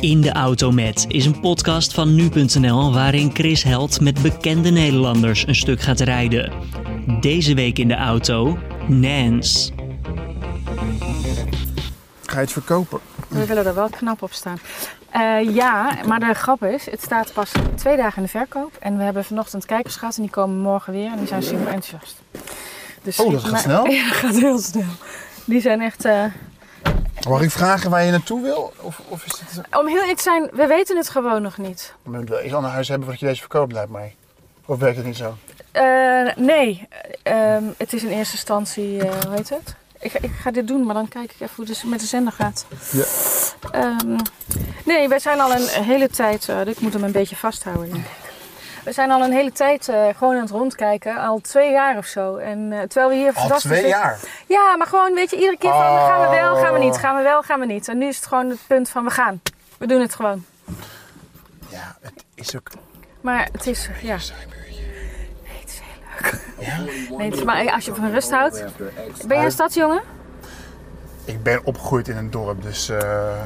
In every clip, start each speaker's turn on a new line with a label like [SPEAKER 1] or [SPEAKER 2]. [SPEAKER 1] In de Auto Met is een podcast van nu.nl waarin Chris Held met bekende Nederlanders een stuk gaat rijden. Deze week in de auto, Nance.
[SPEAKER 2] Ga je het verkopen?
[SPEAKER 3] We willen er wel knap op staan. Eh, ja, maar de grap is, het staat pas twee dagen in de verkoop. En we hebben vanochtend kijkers gehad en die komen morgen weer en die zijn super enthousiast. Dus
[SPEAKER 2] Oh, dat gaat
[SPEAKER 3] maar-
[SPEAKER 2] snel.
[SPEAKER 3] Ja, dat gaat heel snel. Die zijn echt... eh,
[SPEAKER 2] Mag ik vragen waar je naartoe wil? Of, of is het...
[SPEAKER 3] Om heel eerlijk te zijn, we weten het gewoon nog niet.
[SPEAKER 2] Je moet wel iets aan huis hebben voordat je deze verkoopt, lijkt mij. Of werkt het niet zo?
[SPEAKER 3] Eh, nee, Eh, ehm, het is in eerste instantie, eh, hoe heet het? Ik, ga- ik ga dit doen, maar dan kijk ik even hoe het dus met de zender gaat.
[SPEAKER 2] Ja.
[SPEAKER 3] Ehm, nee, wij zijn al een hele tijd, eh, ik moet hem een beetje vasthouden denk ik. We zijn al een hele tijd eh, gewoon aan het rondkijken, al twee jaar of zo. En eh, terwijl we hier
[SPEAKER 2] Al
[SPEAKER 3] fantastisch
[SPEAKER 2] twee
[SPEAKER 3] zitten-
[SPEAKER 2] jaar.
[SPEAKER 3] Ja, maar gewoon weet je, iedere keer van
[SPEAKER 2] Oh.
[SPEAKER 3] gaan we wel, gaan we niet, gaan we wel, gaan we niet. En nu is het gewoon het punt van we gaan. We doen het gewoon.
[SPEAKER 2] Ja, het is ook...
[SPEAKER 3] Maar het is, ja.
[SPEAKER 2] Zijn
[SPEAKER 3] Nee, het is heel leuk. Nee, het is maar als je van rust houdt. Ben jij een
[SPEAKER 2] Uit-
[SPEAKER 3] stadsjongen?
[SPEAKER 2] Ik ben opgegroeid in een dorp, dus... eh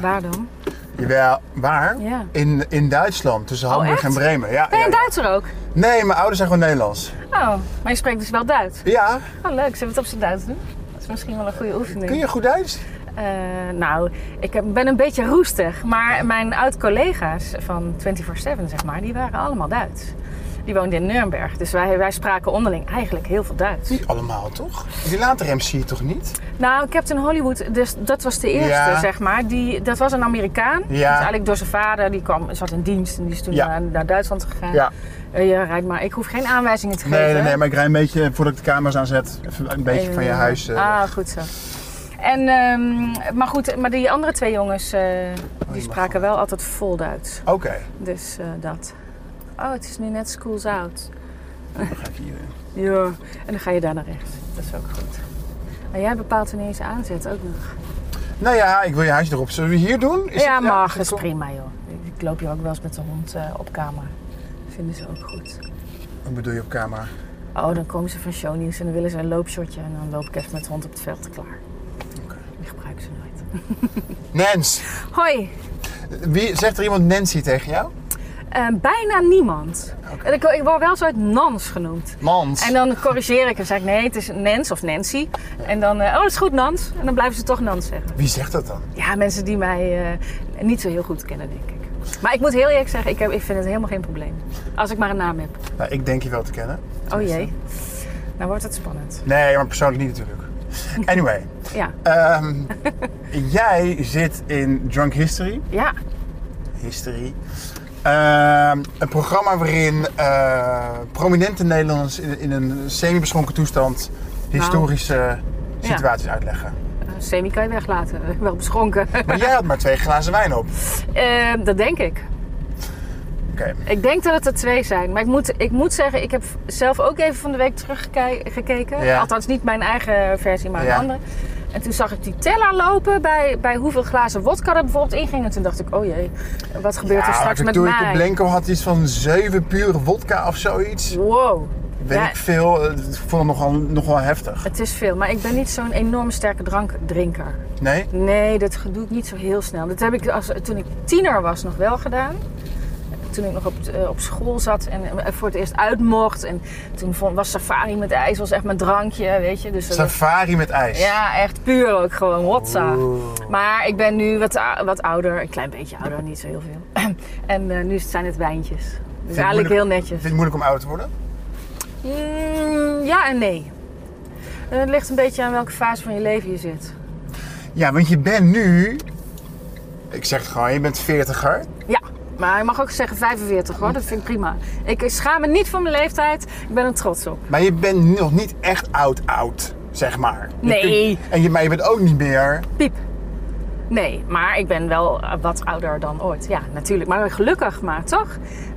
[SPEAKER 3] Waar dan?
[SPEAKER 2] jawel, waar?
[SPEAKER 3] Ja. Oh,
[SPEAKER 2] In, in Duitsland, tussen Hamburg
[SPEAKER 3] echt?
[SPEAKER 2] en Bremen. Ja,
[SPEAKER 3] Ben je
[SPEAKER 2] ja, ja.
[SPEAKER 3] een Duitser ook?
[SPEAKER 2] Nee, mijn ouders zijn gewoon Nederlands.
[SPEAKER 3] Oh, maar je spreekt dus wel Duits.
[SPEAKER 2] Ja,
[SPEAKER 3] Oh, leuk. Zullen we het op zijn Duits doen? Dat is misschien wel een goede oefening.
[SPEAKER 2] kun je goed Duits?
[SPEAKER 3] Eh, nou, ik heb- ben een beetje roestig. Maar mijn oud-collega's van 24-7, zeg maar, die waren allemaal Duits. Die woonden in Nuremberg. Dus wij, wij spraken onderling eigenlijk heel veel Duits.
[SPEAKER 2] Niet allemaal, toch? Die later MC toch niet?
[SPEAKER 3] Nou, Captain Hollywood, dus dat was de eerste,
[SPEAKER 2] Ja.
[SPEAKER 3] zeg maar. Die, dat was een Amerikaan. Dus eigenlijk door zijn vader, die kwam, zat in dienst en die is toen eh,
[SPEAKER 2] Ja.
[SPEAKER 3] naar, naar Duitsland gegaan.
[SPEAKER 2] Ja.
[SPEAKER 3] Eh, ja, rijd maar. Ik hoef geen aanwijzingen te geven.
[SPEAKER 2] Nee, nee, nee, maar ik rij een beetje, voordat ik de camera's aanzet, even een beetje van je
[SPEAKER 3] Eh,
[SPEAKER 2] huis. eh,
[SPEAKER 3] Ah, goed zo. En, ehm, maar goed, maar die andere twee jongens,
[SPEAKER 2] Oh,
[SPEAKER 3] eh, die spraken wel altijd vol Duits.
[SPEAKER 2] Oké.
[SPEAKER 3] Dus eh, dat. Oh, het is nu net school's out.
[SPEAKER 2] Ga ik hier-
[SPEAKER 3] Ja. En dan ga je daar naar rechts. Dat is ook goed. Maar jij bepaalt wanneer je ze aanzet ook nog.
[SPEAKER 2] Nou ja, ik wil je huisje erop. Zullen we hier doen? Is
[SPEAKER 3] ja,
[SPEAKER 2] het-
[SPEAKER 3] mag. Dat
[SPEAKER 2] is
[SPEAKER 3] is
[SPEAKER 2] het-
[SPEAKER 3] prima, joh. Ik loop hier ook wel eens met de hond eh, op camera. Vinden ze ook goed.
[SPEAKER 2] Wat bedoel je op camera?
[SPEAKER 3] Oh, dan komen ze van shownieuws en dan willen ze een loopshotje. En dan loop ik even met de hond op het veld klaar. Die gebruiken ze nooit.
[SPEAKER 2] Nens.
[SPEAKER 3] Hoi,
[SPEAKER 2] Wie, zegt er iemand Nancy tegen jou?
[SPEAKER 3] Eh, bijna niemand. En Ik, ik word wel zo uit Nans genoemd.
[SPEAKER 2] Mans.
[SPEAKER 3] En dan corrigeer ik en zeg ik nee, het is Nens of Nancy. En dan, eh, oh, dat is goed, Nans. En dan blijven ze toch Nans zeggen.
[SPEAKER 2] Wie zegt dat dan?
[SPEAKER 3] Ja, mensen die mij eh, niet zo heel goed kennen, denk ik. Maar ik moet heel eerlijk zeggen, ik, heb, ik vind het helemaal geen probleem. Als ik maar een naam heb.
[SPEAKER 2] Nou, ik denk je wel te kennen.
[SPEAKER 3] Oh jee. Nou wordt het spannend.
[SPEAKER 2] Nee, maar persoonlijk niet natuurlijk. Anyway,
[SPEAKER 3] Ja.
[SPEAKER 2] ehm, jij zit in Drunk History.
[SPEAKER 3] Ja.
[SPEAKER 2] History. Ehm, een programma waarin eh, prominente Nederlanders in, in een semi-beschonken toestand
[SPEAKER 3] Nou.
[SPEAKER 2] historische situaties uitleggen.
[SPEAKER 3] Semi kan je weglaten. Wel beschonken.
[SPEAKER 2] Maar jij had maar twee glazen wijn op.
[SPEAKER 3] Eh, dat denk ik.
[SPEAKER 2] Oké.
[SPEAKER 3] Ik denk dat het er twee zijn. Maar ik moet, ik moet zeggen, ik heb zelf ook even van de week teruggekeken.
[SPEAKER 2] Ja.
[SPEAKER 3] Althans, niet mijn eigen versie, maar een
[SPEAKER 2] Ja.
[SPEAKER 3] andere. En toen zag ik die teller lopen bij, bij hoeveel glazen wodka er bijvoorbeeld in ging. En toen dacht ik, oh jee, wat gebeurt er straks met
[SPEAKER 2] Ah, Victoria
[SPEAKER 3] mij?
[SPEAKER 2] Blenko had iets van zeven pure vodka of zoiets.
[SPEAKER 3] Wow.
[SPEAKER 2] Weet
[SPEAKER 3] Ja,
[SPEAKER 2] ik veel. Eh, Ik vond het nogal, nogal heftig.
[SPEAKER 3] het is veel. Maar ik ben niet zo'n enorm sterke drankdrinker.
[SPEAKER 2] Nee?
[SPEAKER 3] Nee, dat doe ik niet zo heel snel. Dat heb ik als, toen ik tiener was nog wel gedaan. Toen ik nog op, eh, op school zat en eh, voor het eerst uit mocht. En toen vond, was safari met ijs was echt mijn drankje, weet je. Dus dat-
[SPEAKER 2] Safari met ijs.
[SPEAKER 3] ja, echt puur ook gewoon rotza. Maar ik ben nu wat, ou- wat ouder, een klein beetje ouder, niet zo heel veel. en eh, nu zijn het wijntjes. Dus
[SPEAKER 2] Vind je het moeilijk-
[SPEAKER 3] eigenlijk heel
[SPEAKER 2] Vind
[SPEAKER 3] netjes.
[SPEAKER 2] je het moeilijk om oud te worden?
[SPEAKER 3] Mm, ja en nee. Eh, Het ligt een beetje aan welke fase van je leven je zit.
[SPEAKER 2] Ja, want je bent nu... Ik zeg het gewoon, je bent veertiger.
[SPEAKER 3] Ja, maar je mag ook zeggen 45 hoor, dat vind ik prima. Ik schaam me niet van mijn leeftijd, ik ben er trots op.
[SPEAKER 2] Maar je bent nog niet echt oud-oud, zeg maar. Je
[SPEAKER 3] Nee.
[SPEAKER 2] kunt- en je, maar je bent ook niet meer...
[SPEAKER 3] Piep. Nee, maar ik ben wel eh, wat ouder dan ooit. Ja, natuurlijk. Maar gelukkig maar, toch?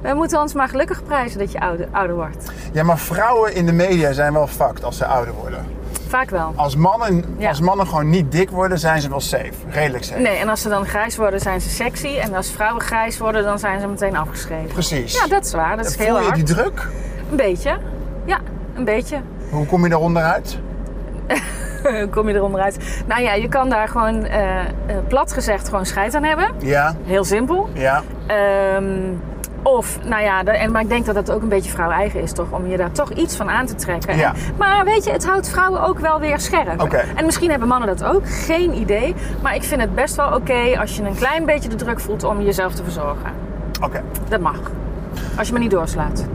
[SPEAKER 3] We moeten ons maar gelukkig prijzen dat je ouder, ouder wordt.
[SPEAKER 2] Ja, maar vrouwen in de media zijn wel fucked als ze ouder worden.
[SPEAKER 3] Vaak wel.
[SPEAKER 2] Als mannen,
[SPEAKER 3] Ja. Mm.
[SPEAKER 2] als mannen gewoon niet dik worden, zijn ze wel safe. Redelijk safe.
[SPEAKER 3] Nee, en als ze dan grijs worden, zijn ze sexy. En als vrouwen grijs worden, dan zijn ze meteen afgeschreven.
[SPEAKER 2] Precies.
[SPEAKER 3] Ja, dat is waar. Dat is
[SPEAKER 2] Voel
[SPEAKER 3] heel
[SPEAKER 2] je die
[SPEAKER 3] hard.
[SPEAKER 2] druk?
[SPEAKER 3] Een beetje. Ja, een beetje.
[SPEAKER 2] Hoe kom je daaronder uit?
[SPEAKER 3] Hoe kom je eronder uit? Nou ja, je kan daar gewoon eh, eh, plat gezegd gewoon scheid aan hebben.
[SPEAKER 2] Ja,
[SPEAKER 3] Heel simpel.
[SPEAKER 2] ja.
[SPEAKER 3] Ehm, of, nou ja, da- en- maar ik denk dat dat ook een beetje vrouw-eigen is, toch? Om je daar toch iets van aan te trekken.
[SPEAKER 2] Ja.
[SPEAKER 3] Maar weet je, het houdt vrouwen ook wel weer scherp.
[SPEAKER 2] Oké.
[SPEAKER 3] En misschien hebben mannen dat ook, geen idee. Maar ik vind het best wel oké als je een klein beetje de druk voelt om jezelf te verzorgen.
[SPEAKER 2] Oké.
[SPEAKER 3] Dat mag. Als je me niet doorslaat.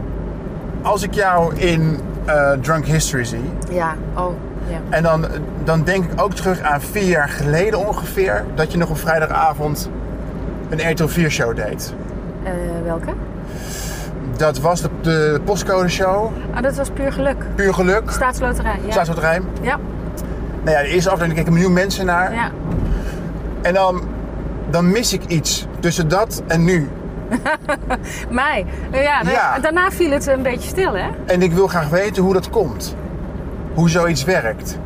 [SPEAKER 2] Als ik jou in eh, Drunk History zie,
[SPEAKER 3] Ja, oh, ja.
[SPEAKER 2] en dan, dan denk ik ook terug aan vier jaar geleden ongeveer, dat je nog op vrijdagavond een Airtel 4 show deed.
[SPEAKER 3] Eh, welke?
[SPEAKER 2] Dat was de, de postcode show,
[SPEAKER 3] Ah, dat was puur geluk.
[SPEAKER 2] puur geluk,
[SPEAKER 3] Staatsloterij, ja.
[SPEAKER 2] staatsloterij.
[SPEAKER 3] Ja,
[SPEAKER 2] Nou ja, de eerste afdeling keken een miljoen mensen naar.
[SPEAKER 3] ja.
[SPEAKER 2] En dan, dan mis ik iets tussen dat en nu.
[SPEAKER 3] Mei. Nou Ja, we-
[SPEAKER 2] Ja.
[SPEAKER 3] daarna viel het een beetje stil, hè?
[SPEAKER 2] En ik wil graag weten hoe dat komt. Hoe zoiets werkt.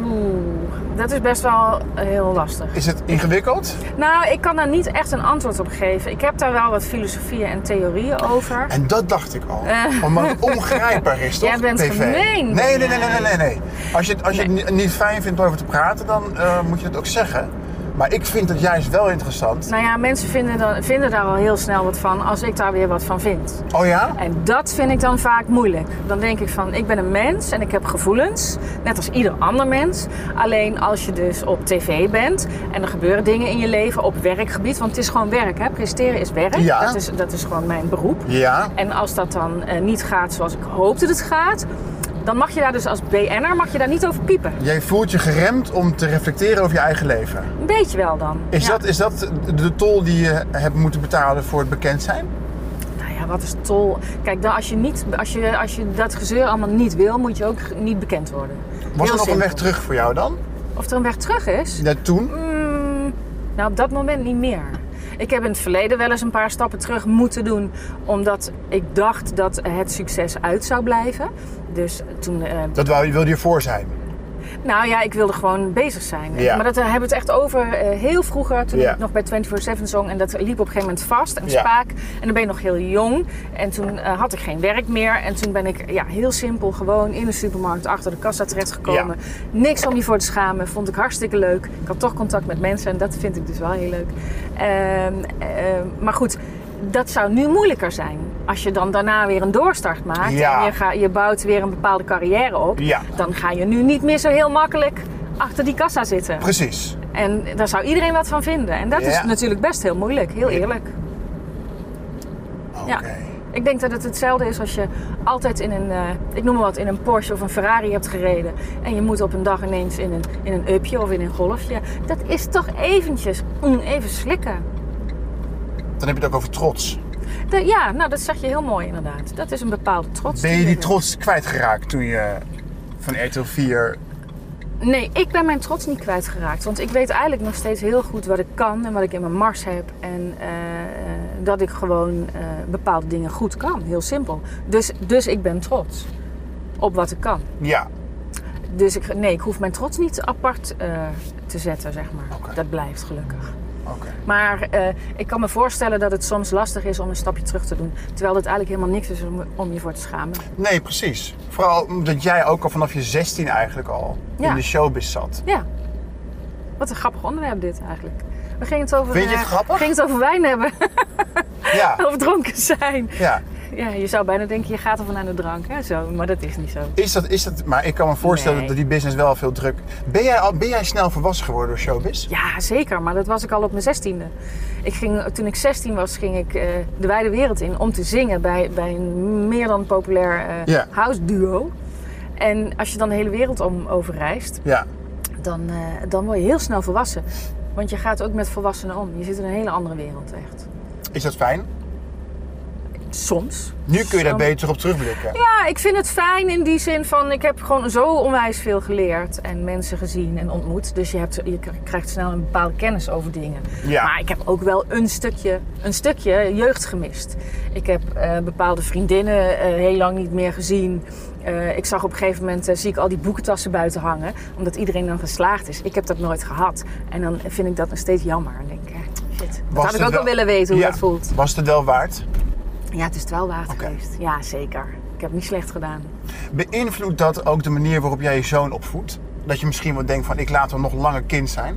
[SPEAKER 3] Oeh, dat is best wel heel lastig.
[SPEAKER 2] Is het ingewikkeld?
[SPEAKER 3] Nou, ik kan daar niet echt een antwoord op geven. Ik heb daar wel wat filosofieën en theorieën over.
[SPEAKER 2] En dat dacht ik al. Omdat het ongrijpbaar is, toch?
[SPEAKER 3] Eh. Jij bent
[SPEAKER 2] TV.
[SPEAKER 3] gemeen,
[SPEAKER 2] Nee, nee,
[SPEAKER 3] ben
[SPEAKER 2] nee, nee, nee, nee. nee. Als je, het- als je het ni- niet fijn vindt om over te praten, dan eh, moet je het ook zeggen. Maar ik vind het juist wel interessant.
[SPEAKER 3] Nou ja, mensen vinden, dan, vinden daar al heel snel wat van als ik daar weer wat van vind.
[SPEAKER 2] Oh ja?
[SPEAKER 3] En dat vind ik dan vaak moeilijk. Dan denk ik van, ik ben een mens en ik heb gevoelens, net als ieder ander mens. Alleen als je dus op tv bent en er gebeuren dingen in je leven op werkgebied, want het is gewoon werk, hè? presteren is werk.
[SPEAKER 2] Ja.
[SPEAKER 3] Dat, is, dat is gewoon mijn beroep.
[SPEAKER 2] Ja.
[SPEAKER 3] En als dat dan eh, niet gaat zoals ik hoop dat het gaat, dan mag je daar dus als BN'er mag je daar niet over piepen.
[SPEAKER 2] Jij voelt je geremd om te reflecteren over je eigen leven.
[SPEAKER 3] Een beetje wel dan.
[SPEAKER 2] Is,
[SPEAKER 3] Ja.
[SPEAKER 2] dat, is dat de tol die je hebt moeten betalen voor het bekend zijn?
[SPEAKER 3] Nou ja, wat is tol? Kijk, dan als, je niet, als, je, als je dat gezeur allemaal niet wil, moet je ook niet bekend worden. Heel
[SPEAKER 2] Was er nog een
[SPEAKER 3] simpel.
[SPEAKER 2] weg terug voor jou dan?
[SPEAKER 3] Of er een weg terug is?
[SPEAKER 2] Net toen?
[SPEAKER 3] Mm, nou, op dat moment niet meer. Ik heb in het verleden wel eens een paar stappen terug moeten doen, omdat ik dacht dat het succes uit zou blijven. Dus toen eh,
[SPEAKER 2] Dat wou, wilde je voor zijn.
[SPEAKER 3] Nou ja, ik wilde gewoon bezig zijn.
[SPEAKER 2] Ja.
[SPEAKER 3] Maar dat eh, hebben we het echt over eh, heel vroeger, toen
[SPEAKER 2] Ja.
[SPEAKER 3] ik nog bij 24-7 zong. En dat liep op een gegeven moment vast en
[SPEAKER 2] Ja.
[SPEAKER 3] spaak. En dan ben je nog heel jong. En toen eh, had ik geen werk meer. En toen ben ik ja, heel simpel gewoon in de supermarkt achter de kassa terechtgekomen. Niks om je voor te schamen. Vond ik hartstikke leuk. Ik had toch contact met mensen en dat vind ik dus wel heel leuk. Ehm, ehm, maar goed, dat zou nu moeilijker zijn. Als je dan daarna weer een doorstart maakt
[SPEAKER 2] Ja.
[SPEAKER 3] en je, ga, je bouwt weer een bepaalde carrière op
[SPEAKER 2] Ja.
[SPEAKER 3] dan ga je nu niet meer zo heel makkelijk achter die kassa zitten.
[SPEAKER 2] Precies.
[SPEAKER 3] En daar zou iedereen wat van vinden. En dat is
[SPEAKER 2] Ja.
[SPEAKER 3] natuurlijk best heel moeilijk, heel eerlijk.
[SPEAKER 2] Oké.
[SPEAKER 3] Ja. Ik denk dat het hetzelfde is als je altijd in een, eh, ik noem maar wat, in een Porsche of een Ferrari hebt gereden. En je moet op een dag ineens in een, in een upje of in een golfje. Dat is toch eventjes, mm, even slikken.
[SPEAKER 2] Dan heb je het ook over trots.
[SPEAKER 3] De- ja, nou dat zeg je heel mooi inderdaad. Dat is een bepaalde trots.
[SPEAKER 2] Ben je die
[SPEAKER 3] er-
[SPEAKER 2] trots kwijtgeraakt toen je van RTL 4...
[SPEAKER 3] Nee, ik ben mijn trots niet kwijtgeraakt. Want ik weet eigenlijk nog steeds heel goed wat ik kan en wat ik in mijn mars heb. En eh, dat ik gewoon eh, bepaalde dingen goed kan. Heel simpel. Dus, dus ik ben trots op wat ik kan.
[SPEAKER 2] Ja,
[SPEAKER 3] Dus ik, nee, ik hoef mijn trots niet apart eh, te zetten, zeg maar.
[SPEAKER 2] Oké.
[SPEAKER 3] Dat blijft gelukkig.
[SPEAKER 2] oké.
[SPEAKER 3] Maar eh, ik kan me voorstellen dat het soms lastig is om een stapje terug te doen. Terwijl het eigenlijk helemaal niks is om, om je voor te schamen.
[SPEAKER 2] Nee, precies. Vooral omdat jij ook al vanaf je 16 eigenlijk al
[SPEAKER 3] Ja.
[SPEAKER 2] in de showbiz zat.
[SPEAKER 3] Ja. Wat een grappig onderwerp dit eigenlijk. We gingen het over,
[SPEAKER 2] Vind je het
[SPEAKER 3] eh,
[SPEAKER 2] grappig?
[SPEAKER 3] we gingen het over wijn hebben.
[SPEAKER 2] Ja,
[SPEAKER 3] Of dronken zijn.
[SPEAKER 2] ja.
[SPEAKER 3] Ja, je zou bijna denken, je gaat ervan aan de drank. Hè? Zo, maar dat is niet zo.
[SPEAKER 2] Is dat, is dat... Maar ik kan me voorstellen
[SPEAKER 3] Nee.
[SPEAKER 2] dat die business wel veel druk... Ben jij, al, ben jij snel volwassen geworden door showbiz?
[SPEAKER 3] Ja, zeker. Maar dat was ik al op mijn zestiende. Ik ging, toen ik 16 was, ging ik eh, de wijde wereld in om te zingen bij, bij een meer dan populair eh,
[SPEAKER 2] Ja.
[SPEAKER 3] house duo. En als je dan de hele wereld om overreist,
[SPEAKER 2] Ja.
[SPEAKER 3] dan, eh, dan word je heel snel volwassen. Want je gaat ook met volwassenen om. Je zit in een hele andere wereld, echt.
[SPEAKER 2] Is dat fijn?
[SPEAKER 3] Soms.
[SPEAKER 2] Nu kun je daar
[SPEAKER 3] Zo-
[SPEAKER 2] beter op terugblikken.
[SPEAKER 3] Ja, ik vind het fijn in die zin van ik heb gewoon zo onwijs veel geleerd en mensen gezien en ontmoet. Dus je, hebt, je k- krijgt snel een bepaalde kennis over dingen.
[SPEAKER 2] Ja.
[SPEAKER 3] Maar ik heb ook wel een stukje, een stukje jeugd gemist. Ik heb eh, bepaalde vriendinnen eh, heel lang niet meer gezien. Eh, ik zag op een gegeven moment eh, zie ik al die boekentassen buiten hangen, omdat iedereen dan geslaagd is. Ik heb dat nooit gehad. En dan vind ik dat nog steeds jammer. En denk, ik, eh, shit, dat
[SPEAKER 2] Was
[SPEAKER 3] had ik
[SPEAKER 2] het
[SPEAKER 3] ook wel willen weten hoe
[SPEAKER 2] Ja.
[SPEAKER 3] dat voelt.
[SPEAKER 2] Was het wel waard?
[SPEAKER 3] Ja, het is het wel waard
[SPEAKER 2] Oké.
[SPEAKER 3] geweest. Ja, zeker. Ik heb niet slecht gedaan.
[SPEAKER 2] Beïnvloedt dat ook de manier waarop jij je zoon opvoedt? Dat je misschien wel denkt van ik laat wel nog langer kind zijn.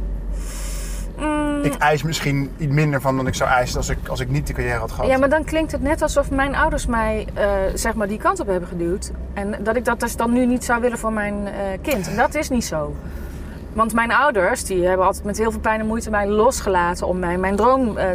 [SPEAKER 3] Mm.
[SPEAKER 2] Ik eis misschien iets minder van dan ik zou eisen als ik, als ik niet de carrière had gehad.
[SPEAKER 3] Ja, maar dan klinkt het net alsof mijn ouders mij eh, zeg maar die kant op hebben geduwd. En dat ik dat dus dan nu niet zou willen voor mijn eh, kind. En dat is niet zo. Want mijn ouders die hebben altijd met heel veel pijn en moeite mij losgelaten om mij, mijn droom eh,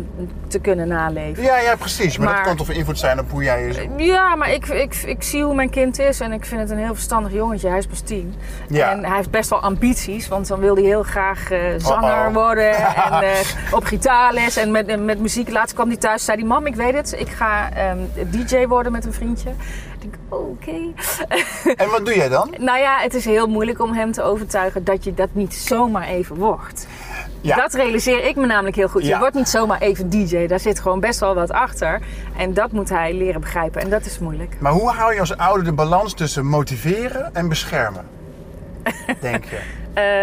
[SPEAKER 3] te kunnen naleven.
[SPEAKER 2] ja, ja, precies. Maar, dat
[SPEAKER 3] Maar-
[SPEAKER 2] kan toch van invloed zijn op hoe jij je...
[SPEAKER 3] Ja, maar ik, ik, ik zie hoe mijn kind is en ik vind het een heel verstandig jongetje. Hij is pas tien.
[SPEAKER 2] Ja.
[SPEAKER 3] En hij heeft best wel ambities, want dan wil hij heel graag eh, zanger
[SPEAKER 2] Uh-oh.
[SPEAKER 3] worden en eh, op gitaarles en met, en met muziek. Laatst kwam hij thuis, zei hij, mam, ik weet het, ik ga ehm, DJ worden met een vriendje. Ik denk, oké.
[SPEAKER 2] En wat doe jij dan?
[SPEAKER 3] Nou ja, het is heel moeilijk om hem te overtuigen dat je dat niet zomaar even wordt.
[SPEAKER 2] Ja.
[SPEAKER 3] Dat realiseer ik me namelijk heel goed.
[SPEAKER 2] Ja.
[SPEAKER 3] Je wordt niet zomaar even DJ, daar zit gewoon best wel wat achter. En dat moet hij leren begrijpen en dat is moeilijk.
[SPEAKER 2] Maar hoe hou je als ouder de balans tussen motiveren en beschermen? Denk je.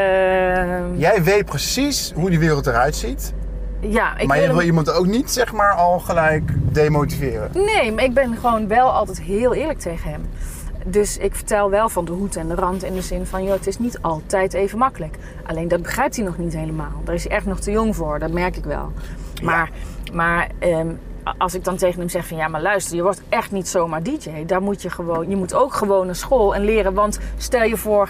[SPEAKER 3] Ehm,
[SPEAKER 2] Jij weet precies hoe die wereld eruit ziet.
[SPEAKER 3] ja, ik
[SPEAKER 2] maar je
[SPEAKER 3] wil
[SPEAKER 2] wil
[SPEAKER 3] hem-
[SPEAKER 2] iemand ook niet, zeg maar, al gelijk demotiveren.
[SPEAKER 3] Nee, maar ik ben gewoon wel altijd heel eerlijk tegen hem. Dus ik vertel wel van de hoed en de rand in de zin van... joh, het is niet altijd even makkelijk. Alleen dat begrijpt hij nog niet helemaal. Daar is hij echt nog te jong voor, dat merk ik wel. Maar, maar ehm, a- als ik dan tegen hem zeg van... ja, maar luister, je wordt echt niet zomaar DJ. Daar moet je, gewoon, je moet ook gewoon naar school en leren. Want stel je voor,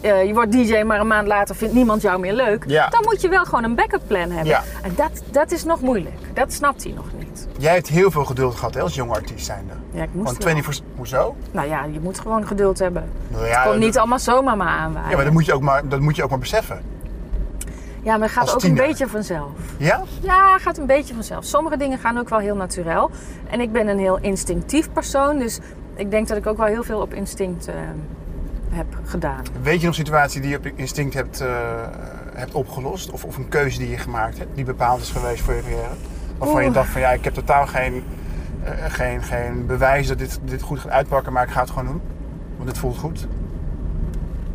[SPEAKER 3] eh, je wordt DJ, maar een maand later vindt niemand jou meer leuk.
[SPEAKER 2] Ja.
[SPEAKER 3] Dan moet je wel gewoon een backup plan hebben.
[SPEAKER 2] Ja.
[SPEAKER 3] En dat, dat is nog moeilijk. Dat snapt hij nog niet.
[SPEAKER 2] Jij hebt heel veel geduld gehad hè, als jonge artiest zijnde.
[SPEAKER 3] Ja, ik moest
[SPEAKER 2] Want
[SPEAKER 3] wel.
[SPEAKER 2] 24... Hoezo?
[SPEAKER 3] Nou ja, je moet gewoon geduld hebben.
[SPEAKER 2] Nou
[SPEAKER 3] Het komt
[SPEAKER 2] dat-
[SPEAKER 3] niet allemaal zomaar maar aanwaaien.
[SPEAKER 2] ja, maar dat moet je ook maar, dat moet je ook maar beseffen.
[SPEAKER 3] Ja, maar het gaat
[SPEAKER 2] als
[SPEAKER 3] ook
[SPEAKER 2] tiener.
[SPEAKER 3] een beetje vanzelf.
[SPEAKER 2] Ja?
[SPEAKER 3] Ja, het gaat een beetje vanzelf. Sommige dingen gaan ook wel heel natuurlijk. En ik ben een heel instinctief persoon. Dus ik denk dat ik ook wel heel veel op instinct eh, heb gedaan.
[SPEAKER 2] Weet je nog situatie die je op je instinct hebt, eh, hebt opgelost? Of, of een keuze die je gemaakt hebt, die bepaald is geweest voor je carrière? Waarvan je
[SPEAKER 3] Oeh.
[SPEAKER 2] dacht van ja, ik heb totaal geen, eh, geen, geen bewijs dat dit, dit goed gaat uitpakken, maar ik ga het gewoon doen. Want het voelt goed.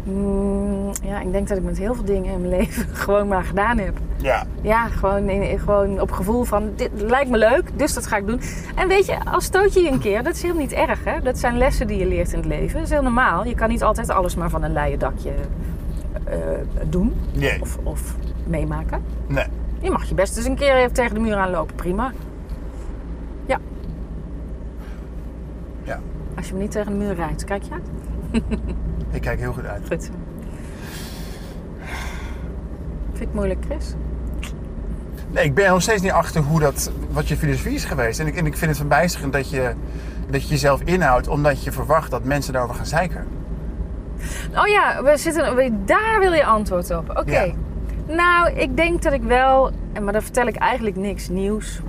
[SPEAKER 3] Mm, ja, ik denk dat ik met heel veel dingen in mijn leven gewoon maar gedaan heb.
[SPEAKER 2] Ja.
[SPEAKER 3] Ja, gewoon, in- gewoon op gevoel van dit lijkt me leuk, dus dat ga ik doen. En weet je, als stoot je je een keer, dat is helemaal niet erg hè. Dat zijn lessen die je leert in het leven. Dat is heel normaal. Je kan niet altijd alles maar van een leien dakje eh, doen
[SPEAKER 2] Nee.
[SPEAKER 3] of, of meemaken.
[SPEAKER 2] Nee.
[SPEAKER 3] Je mag je best eens een keer even tegen de muur aanlopen, prima. Ja,
[SPEAKER 2] Ja.
[SPEAKER 3] als je me niet tegen de muur rijdt, kijk je uit.
[SPEAKER 2] Ik kijk heel goed uit.
[SPEAKER 3] Goed. Vind ik moeilijk, Chris?
[SPEAKER 2] Nee, ik ben er nog steeds niet achter hoe dat, wat je filosofie is geweest. En ik, en ik vind het verbijsterend dat je, dat je jezelf inhoudt omdat je verwacht dat mensen daarover gaan zeiken.
[SPEAKER 3] Oh ja, we zitten, we- daar wil je antwoord op. Oké.
[SPEAKER 2] Ja.
[SPEAKER 3] Nou, ik denk dat ik wel, en maar dan vertel ik eigenlijk niks nieuws.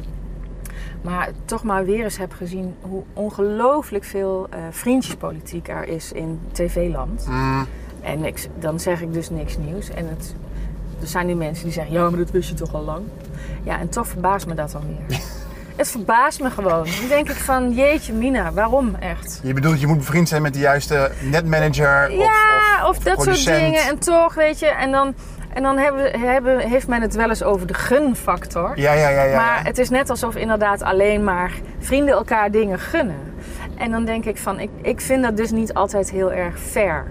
[SPEAKER 3] Maar toch maar weer eens heb gezien hoe ongelooflijk veel eh, vriendjespolitiek er is in tv-land. En ik, dan zeg ik dus niks nieuws. En het, er zijn nu mensen die zeggen, ja, maar dat wist je toch al lang. Ja, en toch verbaast me dat dan weer. het verbaast me gewoon. Dan denk ik van, jeetje mina, waarom echt?
[SPEAKER 2] Je bedoelt, je moet bevriend zijn met de juiste netmanager of-
[SPEAKER 3] Ja, of, dat
[SPEAKER 2] producent.
[SPEAKER 3] soort dingen. En toch, weet je. En dan, en dan hebben, hebben, heeft men het wel eens over de gunfactor.
[SPEAKER 2] Ja, ja, ja, ja.
[SPEAKER 3] Maar het is net alsof inderdaad alleen maar vrienden elkaar dingen gunnen. En dan denk ik van, ik, ik vind dat dus niet altijd heel erg fair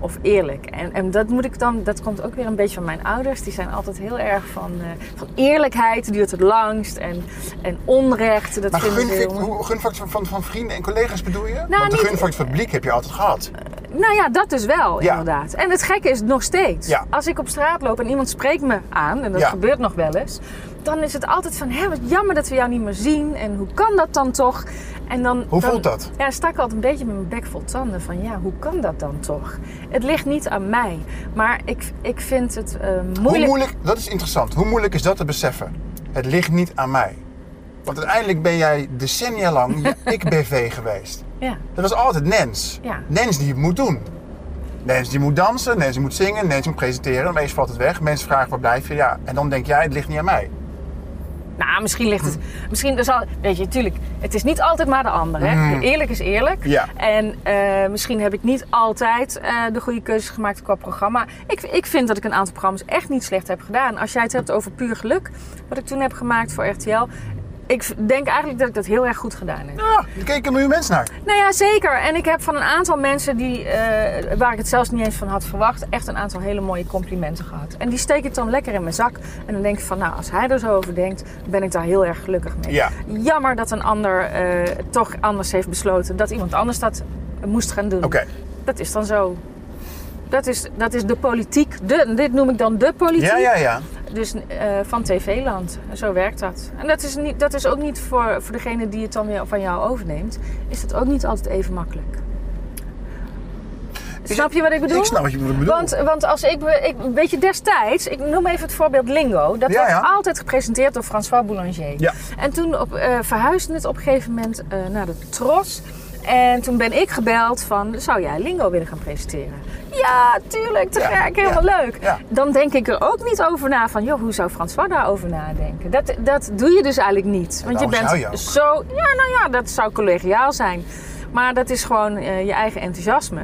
[SPEAKER 3] of eerlijk. En, en dat moet ik dan, dat komt ook weer een beetje van mijn ouders. Die zijn altijd heel erg van, eh, van eerlijkheid duurt het langst. En, en onrecht, dat
[SPEAKER 2] Maar
[SPEAKER 3] vinden ze
[SPEAKER 2] gunfact-
[SPEAKER 3] heel...
[SPEAKER 2] hoe- gunfactor van, van vrienden en collega's bedoel je? Want de
[SPEAKER 3] Nou, niet-
[SPEAKER 2] gunfactor van het publiek heb je altijd gehad.
[SPEAKER 3] Nou ja, dat dus wel,
[SPEAKER 2] Ja.
[SPEAKER 3] inderdaad. En het gekke is nog steeds.
[SPEAKER 2] Ja.
[SPEAKER 3] Als ik op straat loop en iemand spreekt me aan, en dat
[SPEAKER 2] Ja.
[SPEAKER 3] gebeurt nog wel eens, dan is het altijd van, hè, wat jammer dat we jou niet meer zien. En hoe kan dat dan toch? En dan,
[SPEAKER 2] Hoe
[SPEAKER 3] dan-
[SPEAKER 2] voelt dat?
[SPEAKER 3] Ja, sta ik altijd een beetje met mijn bek vol tanden van, ja, hoe kan dat dan toch? Het ligt niet aan mij. Maar ik, ik vind het eh,
[SPEAKER 2] Hoe
[SPEAKER 3] moeilijk.
[SPEAKER 2] moeilijk, dat is interessant. Hoe moeilijk is dat te beseffen? Het ligt niet aan mij. Want uiteindelijk ben jij decennia lang je ik-BV geweest.
[SPEAKER 3] Ja.
[SPEAKER 2] Dat was altijd Nens.
[SPEAKER 3] Ja.
[SPEAKER 2] Nens die het moet doen. Nens die moet dansen, Nens die moet zingen, Nens moet presenteren. Opeens valt het weg, mensen vragen waar blijf je? Ja, en dan denk jij, het ligt niet aan mij.
[SPEAKER 3] Nou, misschien ligt het. Misschien er zal. Weet je, tuurlijk. Het is niet altijd maar de ander. Hè? Eerlijk is eerlijk.
[SPEAKER 2] Ja.
[SPEAKER 3] En eh, misschien heb ik niet altijd eh, de goede keuzes gemaakt qua programma. Ik, ik vind dat ik een aantal programma's echt niet slecht heb gedaan. Als jij het hebt over puur geluk, wat ik toen heb gemaakt voor RTL. ik denk eigenlijk dat ik dat heel erg goed gedaan heb.
[SPEAKER 2] Ja, Ah, er keken miljoen mensen naar.
[SPEAKER 3] Nou ja, zeker. En ik heb van een aantal mensen die, eh, waar ik het zelfs niet eens van had verwacht, echt een aantal hele mooie complimenten gehad. En die steek ik dan lekker in mijn zak. En dan denk ik van, nou, als hij er zo over denkt, ben ik daar heel erg gelukkig mee.
[SPEAKER 2] Ja.
[SPEAKER 3] Jammer dat een ander eh, toch anders heeft besloten dat iemand anders dat moest gaan doen.
[SPEAKER 2] Oké,
[SPEAKER 3] Dat is dan zo. Dat is, dat is de politiek. De, dit noem ik dan de politiek.
[SPEAKER 2] ja, ja, ja.
[SPEAKER 3] Dus eh, van TV-land. Zo werkt dat. En dat is, niet, dat is ook niet voor, voor degene die het dan weer van jou overneemt, is dat ook niet altijd even makkelijk.
[SPEAKER 2] Is
[SPEAKER 3] Snap
[SPEAKER 2] het-
[SPEAKER 3] je wat ik bedoel?
[SPEAKER 2] Ik snap wat je bedoelt.
[SPEAKER 3] Want, want als ik, ik, weet je, destijds, ik noem even het voorbeeld Lingo. Dat
[SPEAKER 2] Ja,
[SPEAKER 3] werd
[SPEAKER 2] ja.
[SPEAKER 3] altijd gepresenteerd door François Boulanger.
[SPEAKER 2] Ja.
[SPEAKER 3] En toen op, eh, verhuisde het op een gegeven moment eh, naar de Tros. En toen ben ik gebeld van, zou jij Lingo willen gaan presenteren? Ja, tuurlijk, te
[SPEAKER 2] Ja,
[SPEAKER 3] gek, helemaal
[SPEAKER 2] ja,
[SPEAKER 3] leuk.
[SPEAKER 2] ja.
[SPEAKER 3] Dan denk ik er ook niet over na van, joh, hoe zou François daarover nadenken? Dat, dat doe je dus eigenlijk niet. Want je
[SPEAKER 2] waarom
[SPEAKER 3] bent
[SPEAKER 2] Nou, zou je ook?
[SPEAKER 3] zo... Ja, nou ja, dat zou collegiaal zijn. Maar dat is gewoon eh, je eigen enthousiasme.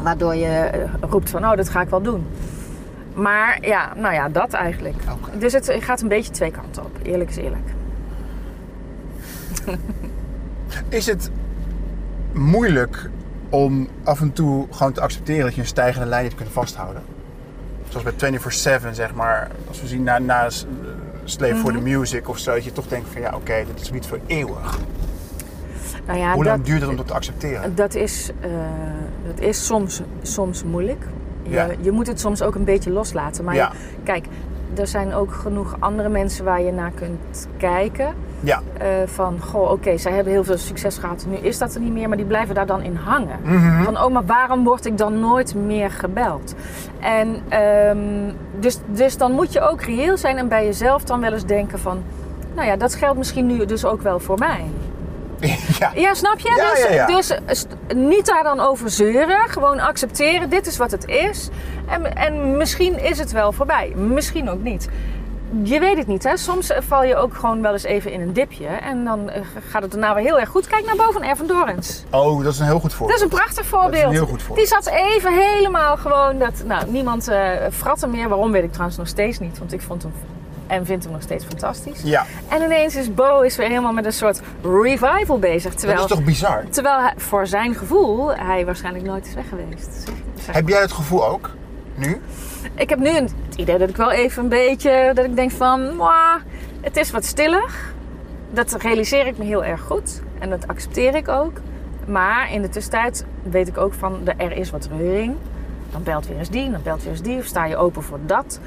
[SPEAKER 3] Waardoor je eh, roept van, oh, dat ga ik wel doen. Maar ja, nou ja, dat eigenlijk.
[SPEAKER 2] Oké.
[SPEAKER 3] Dus het gaat een beetje twee kanten op. Eerlijk is eerlijk.
[SPEAKER 2] Is het moeilijk om af en toe gewoon te accepteren dat je een stijgende lijn hebt kunnen vasthouden? Zoals bij 24-7, zeg maar. Als we zien na, na eh, Slave for
[SPEAKER 3] Mhm.
[SPEAKER 2] the Music of zo, dat je toch denkt van ja, oké, dit is niet voor eeuwig.
[SPEAKER 3] Nou ja,
[SPEAKER 2] Hoe
[SPEAKER 3] dat,
[SPEAKER 2] lang duurt het om dat te accepteren?
[SPEAKER 3] dat is, eh, dat is soms, soms moeilijk. Je,
[SPEAKER 2] Ja.
[SPEAKER 3] je moet het soms ook een beetje loslaten. Maar
[SPEAKER 2] Ja.
[SPEAKER 3] je- kijk, er zijn ook genoeg andere mensen waar je naar kunt kijken.
[SPEAKER 2] Ja,
[SPEAKER 3] eh, van, goh, oké, zij hebben heel veel succes gehad. Nu is dat er niet meer, maar die blijven daar dan in hangen. Van, oh, maar waarom word ik dan nooit meer gebeld? En ehm, dus, dus dan moet je ook reëel zijn en bij jezelf dan wel eens denken van... Nou ja, dat geldt misschien nu dus ook wel voor mij.
[SPEAKER 2] ja.
[SPEAKER 3] Ja, snap je?
[SPEAKER 2] Ja,
[SPEAKER 3] dus
[SPEAKER 2] ja, ja.
[SPEAKER 3] dus eh, st- niet daar dan over zeuren. Gewoon accepteren, dit is wat het is. En, en misschien is het wel voorbij. Misschien ook niet. Je weet het niet, hè? Soms eh, val je ook gewoon wel eens even in een dipje. En dan eh, gaat het daarna weer heel erg goed. Kijk naar boven van Ervan Dorens.
[SPEAKER 2] Oh, dat is een heel goed
[SPEAKER 3] Dat
[SPEAKER 2] voorbeeld.
[SPEAKER 3] is een prachtig voorbeeld.
[SPEAKER 2] Dat is een heel goed voorbeeld.
[SPEAKER 3] Die zat even helemaal gewoon dat... Nou, niemand eh frat hem meer. Waarom weet ik trouwens nog steeds niet. Want ik vond hem en vind hem nog steeds fantastisch.
[SPEAKER 2] Ja,
[SPEAKER 3] En ineens is Bo is weer helemaal met een soort revival bezig.
[SPEAKER 2] dat
[SPEAKER 3] Terwijl
[SPEAKER 2] is toch bizar?
[SPEAKER 3] Terwijl hij- voor zijn gevoel hij waarschijnlijk nooit is weg geweest. Zeg-
[SPEAKER 2] Heb jij het gevoel ook? Nu?
[SPEAKER 3] Ik heb nu een- het idee dat ik wel even een beetje, dat ik denk van, "Mwah, het is wat stillig. Dat realiseer ik me heel erg goed en dat accepteer ik ook. Maar in de tussentijd weet ik ook van, de- er is wat reuring. Dan belt weer eens die, dan belt weer eens die, of sta je open voor dat.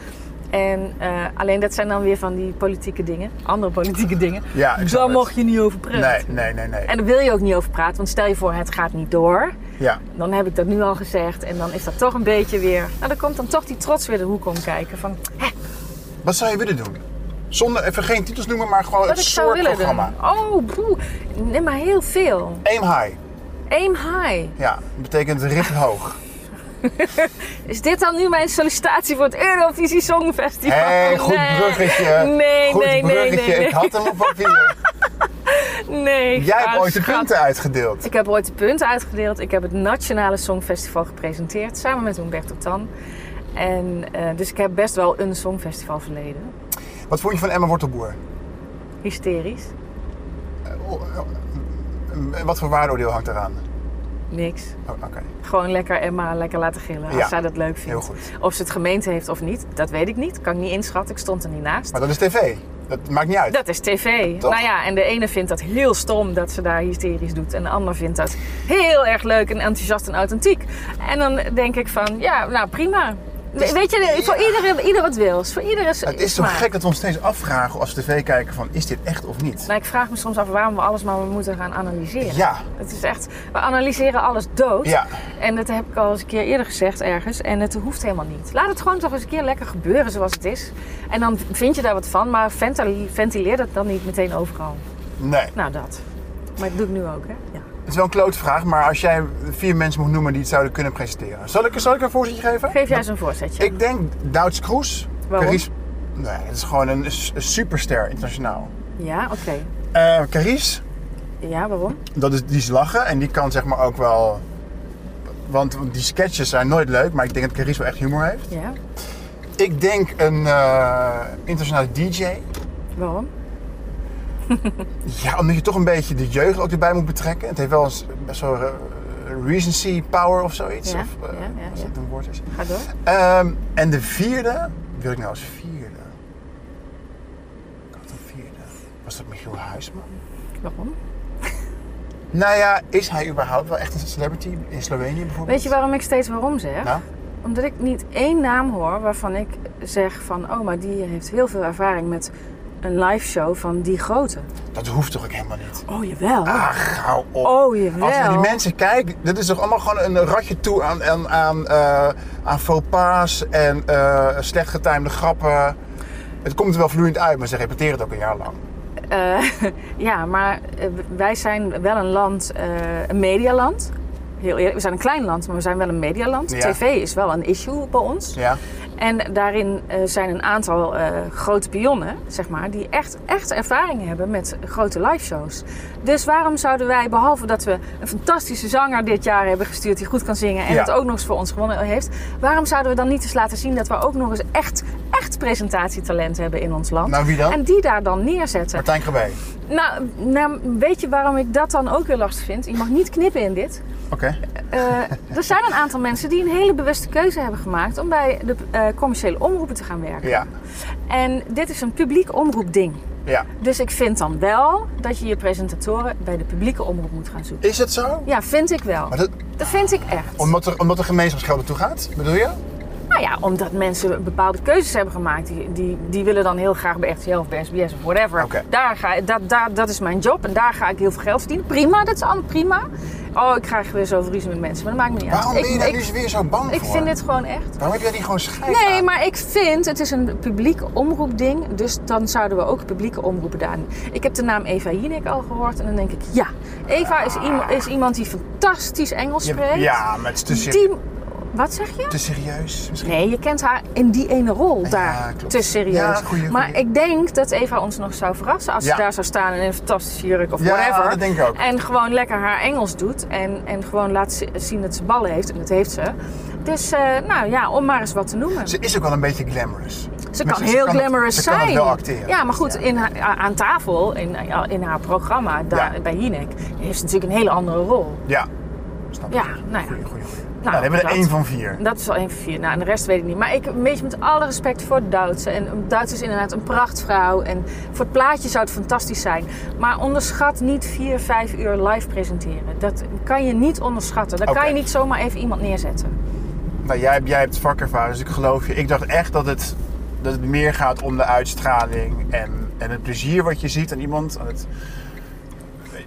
[SPEAKER 3] En eh, alleen dat zijn dan weer van die politieke dingen, andere politieke dingen.
[SPEAKER 2] Ja, ik snap
[SPEAKER 3] Daar
[SPEAKER 2] het.
[SPEAKER 3] mag je niet over praten.
[SPEAKER 2] Nee, nee, nee, nee.
[SPEAKER 3] En daar wil je ook niet over praten, want stel je voor, het gaat niet door
[SPEAKER 2] Ja.
[SPEAKER 3] dan heb ik dat nu al gezegd. En dan is dat toch een beetje weer. Nou, dan komt dan toch die trots weer de hoek om kijken. Van hè,
[SPEAKER 2] Wat zou je willen doen? Zonder, even geen titels noemen, maar gewoon
[SPEAKER 3] wat
[SPEAKER 2] het
[SPEAKER 3] ik zou
[SPEAKER 2] soort
[SPEAKER 3] willen
[SPEAKER 2] programma.
[SPEAKER 3] doen. Oh, boe. Nee, maar heel veel.
[SPEAKER 2] Aim high.
[SPEAKER 3] Aim high.
[SPEAKER 2] Ja, dat betekent richt hoog.
[SPEAKER 3] Is dit dan nu mijn sollicitatie voor het Eurovisie Songfestival?
[SPEAKER 2] hey, goed
[SPEAKER 3] Nee.
[SPEAKER 2] bruggetje.
[SPEAKER 3] Nee,
[SPEAKER 2] goed
[SPEAKER 3] nee, nee,
[SPEAKER 2] bruggetje.
[SPEAKER 3] nee, nee.
[SPEAKER 2] Ik had hem op papier.
[SPEAKER 3] Nee.
[SPEAKER 2] Jij
[SPEAKER 3] ah,
[SPEAKER 2] hebt ooit de
[SPEAKER 3] schat.
[SPEAKER 2] punten uitgedeeld.
[SPEAKER 3] Ik heb ooit de punten uitgedeeld. Ik heb het Nationale Songfestival gepresenteerd samen met Humberto Tan. En, eh, dus ik heb best wel een songfestival verleden.
[SPEAKER 2] Wat vond je van Emma Wortelboer?
[SPEAKER 3] Hysterisch.
[SPEAKER 2] Eh, oh, eh, Wat voor waardeoordeel hangt eraan?
[SPEAKER 3] Niks.
[SPEAKER 2] Oh, Oké.
[SPEAKER 3] Gewoon lekker Emma lekker laten gillen als
[SPEAKER 2] Ja,
[SPEAKER 3] zij dat leuk vindt.
[SPEAKER 2] heel goed.
[SPEAKER 3] Of ze het gemeente heeft of niet, dat weet ik niet. Kan ik niet inschatten, ik stond er niet naast.
[SPEAKER 2] Maar dat is tv. Dat maakt niet uit.
[SPEAKER 3] Dat is tv.
[SPEAKER 2] Toch?
[SPEAKER 3] Nou ja, en de ene vindt dat heel stom dat ze daar hysterisch doet. En de ander vindt dat heel erg leuk en enthousiast en authentiek. En dan denk ik van, ja, nou prima. We- Weet je, voor iedereen, ieder wat wils. Voor ieder is
[SPEAKER 2] Het is zo
[SPEAKER 3] smaak.
[SPEAKER 2] gek dat we ons steeds afvragen als tv kijken van is dit echt of niet?
[SPEAKER 3] Nou, ik vraag me soms af waarom we alles maar moeten gaan analyseren.
[SPEAKER 2] Ja.
[SPEAKER 3] Het is echt, we analyseren alles dood.
[SPEAKER 2] Ja.
[SPEAKER 3] En dat heb ik al eens een keer eerder gezegd ergens. En het hoeft helemaal niet. Laat het gewoon toch eens een keer lekker gebeuren zoals het is. En dan vind je daar wat van, maar ventile- ventileer dat dan niet meteen overal.
[SPEAKER 2] Nee.
[SPEAKER 3] Nou, dat. Maar dat doe ik nu ook, hè? Ja.
[SPEAKER 2] Het is wel een klote vraag, maar als jij vier mensen moet noemen die het zouden kunnen presenteren. Zal ik, zal ik een voorzetje geven?
[SPEAKER 3] Geef jij eens een voorzetje.
[SPEAKER 2] Ik denk Douds Kroes.
[SPEAKER 3] Waarom?
[SPEAKER 2] Carice- Nee, het is gewoon een, s- een superster internationaal.
[SPEAKER 3] Ja, oké.
[SPEAKER 2] Eh Carice,
[SPEAKER 3] Ja, waarom?
[SPEAKER 2] dat is, die is lachen en die kan zeg maar ook wel... Want want die sketches zijn nooit leuk, maar ik denk dat Carice wel echt humor heeft.
[SPEAKER 3] Ja,
[SPEAKER 2] Ik denk een eh internationale DJ.
[SPEAKER 3] waarom?
[SPEAKER 2] Ja, omdat je toch een beetje de jeugd ook erbij moet betrekken. Het heeft wel eens best wel eh, recency power of zoiets.
[SPEAKER 3] Ja,
[SPEAKER 2] of, eh,
[SPEAKER 3] ja, ja,
[SPEAKER 2] als
[SPEAKER 3] ja.
[SPEAKER 2] dat een woord is.
[SPEAKER 3] Ga door.
[SPEAKER 2] Ehm, en de vierde, wie wil ik nou als vierde? Ik had een vierde. Was dat Michiel Huisman?
[SPEAKER 3] Waarom?
[SPEAKER 2] Nou ja, is hij überhaupt wel echt een celebrity in Slovenië bijvoorbeeld?
[SPEAKER 3] Weet je waarom ik steeds waarom zeg?
[SPEAKER 2] Nou,
[SPEAKER 3] Omdat ik niet één naam hoor waarvan ik zeg van... oh, maar die heeft heel veel ervaring met een live show van die grote.
[SPEAKER 2] dat hoeft toch ook helemaal niet?
[SPEAKER 3] Oh, jewel.
[SPEAKER 2] Ach, hou op.
[SPEAKER 3] Oh, jawel.
[SPEAKER 2] Als je naar die mensen kijkt, dit is toch allemaal gewoon een ratje toe aan, aan, aan, eh, aan faux pas en eh, slecht getimede grappen. Het komt er wel vloeiend uit, maar ze repeteren het ook een jaar lang.
[SPEAKER 3] Eh, ja, maar eh, wij zijn wel een land, eh, een medialand. Heel eerlijk, we zijn een klein land, maar we zijn wel een medialand.
[SPEAKER 2] Ja.
[SPEAKER 3] TV is wel een issue bij ons.
[SPEAKER 2] Ja?
[SPEAKER 3] En daarin eh, zijn een aantal eh, grote pionnen, zeg maar, die echt, echt ervaring hebben met grote liveshows. Dus waarom zouden wij, behalve dat we een fantastische zanger dit jaar hebben gestuurd die goed kan zingen en
[SPEAKER 2] Ja.
[SPEAKER 3] het ook nog eens voor ons gewonnen heeft, waarom zouden we dan niet eens laten zien dat we ook nog eens echt, echt presentatietalent hebben in ons land?
[SPEAKER 2] Nou, wie dan?
[SPEAKER 3] En die daar dan neerzetten.
[SPEAKER 2] Martijn Krabbe.
[SPEAKER 3] Nou, nou, weet je waarom ik dat dan ook weer lastig vind? Je mag niet knippen in dit.
[SPEAKER 2] Oké.
[SPEAKER 3] Eh, er zijn een aantal mensen die een hele bewuste keuze hebben gemaakt om bij de eh, commerciële omroepen te gaan werken.
[SPEAKER 2] Ja.
[SPEAKER 3] En dit is een publiek omroepding.
[SPEAKER 2] ja.
[SPEAKER 3] Dus ik vind dan wel dat je je presentatoren bij de publieke omroep moet gaan zoeken.
[SPEAKER 2] Is het zo?
[SPEAKER 3] Ja, vind ik wel.
[SPEAKER 2] Maar dat,
[SPEAKER 3] Dat vind ik echt.
[SPEAKER 2] omdat, er, omdat er gemeenschapsgeld naartoe gaat, bedoel je?
[SPEAKER 3] Nou ja, omdat mensen bepaalde keuzes hebben gemaakt. Die, die, die willen dan heel graag bij RTL of bij SBS of whatever.
[SPEAKER 2] Oké.
[SPEAKER 3] Daar ga, dat, dat, dat is mijn job en daar ga ik heel veel geld verdienen. Prima, dat is allemaal prima. Oh, ik krijg weer zoveel ruzie met mensen, maar dat maakt me niet
[SPEAKER 2] Waarom
[SPEAKER 3] uit.
[SPEAKER 2] ben je
[SPEAKER 3] Ik-
[SPEAKER 2] daar
[SPEAKER 3] ik,
[SPEAKER 2] nu weer zo bang
[SPEAKER 3] ik
[SPEAKER 2] voor?
[SPEAKER 3] vind dit gewoon echt.
[SPEAKER 2] Waarom heb jij die gewoon schijt
[SPEAKER 3] Nee,
[SPEAKER 2] aan?
[SPEAKER 3] maar ik vind, het is een publiek omroepding, dus dan zouden we ook publieke omroepen daarin. Ik heb de naam Eva Jinek al gehoord en dan denk ik, ja, Eva is, iem- is iemand die fantastisch Engels
[SPEAKER 2] Ah. Je-
[SPEAKER 3] spreekt.
[SPEAKER 2] Ja, maar het is te, ser-
[SPEAKER 3] Die, wat zeg je?
[SPEAKER 2] te serieus. Misschien.
[SPEAKER 3] Nee, je kent haar in die ene rol daar.
[SPEAKER 2] klopt.
[SPEAKER 3] Te serieus.
[SPEAKER 2] Ja, goeie,
[SPEAKER 3] maar
[SPEAKER 2] goeie.
[SPEAKER 3] ik denk dat Eva ons nog zou verrassen als
[SPEAKER 2] Ja.
[SPEAKER 3] ze daar zou staan in een fantastische jurk of
[SPEAKER 2] Ja,
[SPEAKER 3] whatever.
[SPEAKER 2] dat denk ik ook.
[SPEAKER 3] En gewoon lekker haar Engels doet en, en gewoon laat zi- zien dat ze ballen heeft. En dat heeft ze. Dus, eh, nou ja, om maar eens wat te noemen.
[SPEAKER 2] Ze is ook wel een beetje glamorous.
[SPEAKER 3] Ze
[SPEAKER 2] Maar
[SPEAKER 3] kan heel
[SPEAKER 2] het-
[SPEAKER 3] glamorous
[SPEAKER 2] ze
[SPEAKER 3] zijn.
[SPEAKER 2] kan het wel acteren.
[SPEAKER 3] Ja, maar goed, in haar- aan tafel, in, in haar programma daar,
[SPEAKER 2] Ja.
[SPEAKER 3] bij Jinek, heeft ze natuurlijk een hele andere rol.
[SPEAKER 2] Ja. Snap ik.
[SPEAKER 3] Ja, nou ja.
[SPEAKER 2] Goeie, goeie, goeie. Nou,
[SPEAKER 3] Nou,
[SPEAKER 2] dan hebben we er
[SPEAKER 3] dat-
[SPEAKER 2] één van vier.
[SPEAKER 3] Dat is al één van vier. Nou, en de rest weet ik niet. Maar ik, een beetje met alle respect voor Duitse. En um, Duits is inderdaad een prachtvrouw. En voor het plaatje zou het fantastisch zijn. Maar onderschat niet vier, vijf uur live presenteren. Dat kan je niet onderschatten. Daar
[SPEAKER 2] Oké.
[SPEAKER 3] kan je niet zomaar even iemand neerzetten.
[SPEAKER 2] Nou, jij, hebt- jij hebt vakervaring, dus ik geloof je. Ik dacht echt dat het, dat het meer gaat om de uitstraling en, en het plezier wat je ziet aan iemand. Aan het,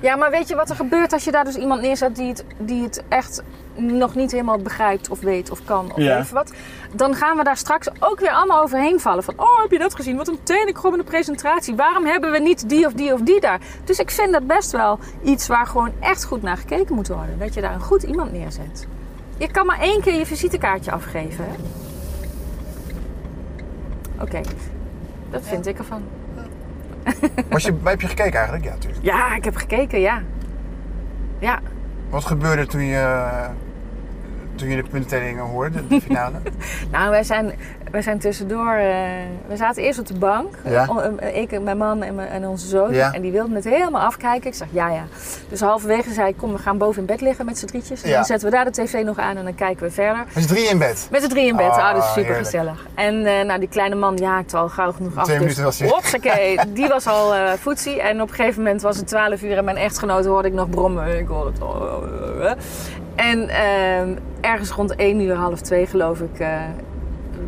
[SPEAKER 3] Ja, maar weet je wat er gebeurt als je daar dus iemand neerzet die het, die het echt nog niet helemaal begrijpt of weet of kan of
[SPEAKER 2] Ja.
[SPEAKER 3] even wat. Dan gaan we daar straks ook weer allemaal overheen vallen. Van, oh, heb je dat gezien? Wat een tenenkrommende presentatie. Waarom hebben we niet die of die of die daar? Dus ik vind dat best wel iets waar gewoon echt goed naar gekeken moet worden. Dat je daar een goed iemand neerzet. Je kan maar één keer je visitekaartje afgeven, hè? Oké, dat vind ik ervan.
[SPEAKER 2] was je, heb je gekeken eigenlijk? Ja, natuurlijk.
[SPEAKER 3] Ja, ik heb gekeken, ja. Ja,
[SPEAKER 2] Wat gebeurde toen je, toen je de puntentelling hoorde, de finale?
[SPEAKER 3] Nou, wij zijn, wij zijn tussendoor. eh, we zaten eerst op de bank.
[SPEAKER 2] Ja.
[SPEAKER 3] O- eh, Ik, en mijn man en, mijn- en onze zoon.
[SPEAKER 2] Ja.
[SPEAKER 3] En die wilden het helemaal afkijken. Ik zeg ja, ja. Dus halverwege zei ik: Kom, we gaan boven in bed liggen met z'n drietjes. En
[SPEAKER 2] Ja.
[SPEAKER 3] dan zetten we daar de tv nog aan en dan kijken we verder.
[SPEAKER 2] Was drie in bed?
[SPEAKER 3] Met z'n drie in bed.
[SPEAKER 2] Ah,
[SPEAKER 3] Ah, dat is super
[SPEAKER 2] heerlijk.
[SPEAKER 3] gezellig. En eh, nou, die kleine man die haakte al gauw genoeg af.
[SPEAKER 2] Twee
[SPEAKER 3] dus,
[SPEAKER 2] minuten was hij-
[SPEAKER 3] Hopsakee, die was al eh foetsie. En op een gegeven moment was het 12 uur en mijn echtgenoot hoorde ik nog brommen. Ik hoorde het. al. eh, En ehm, ergens rond 1 uur, half 2 geloof ik. eh,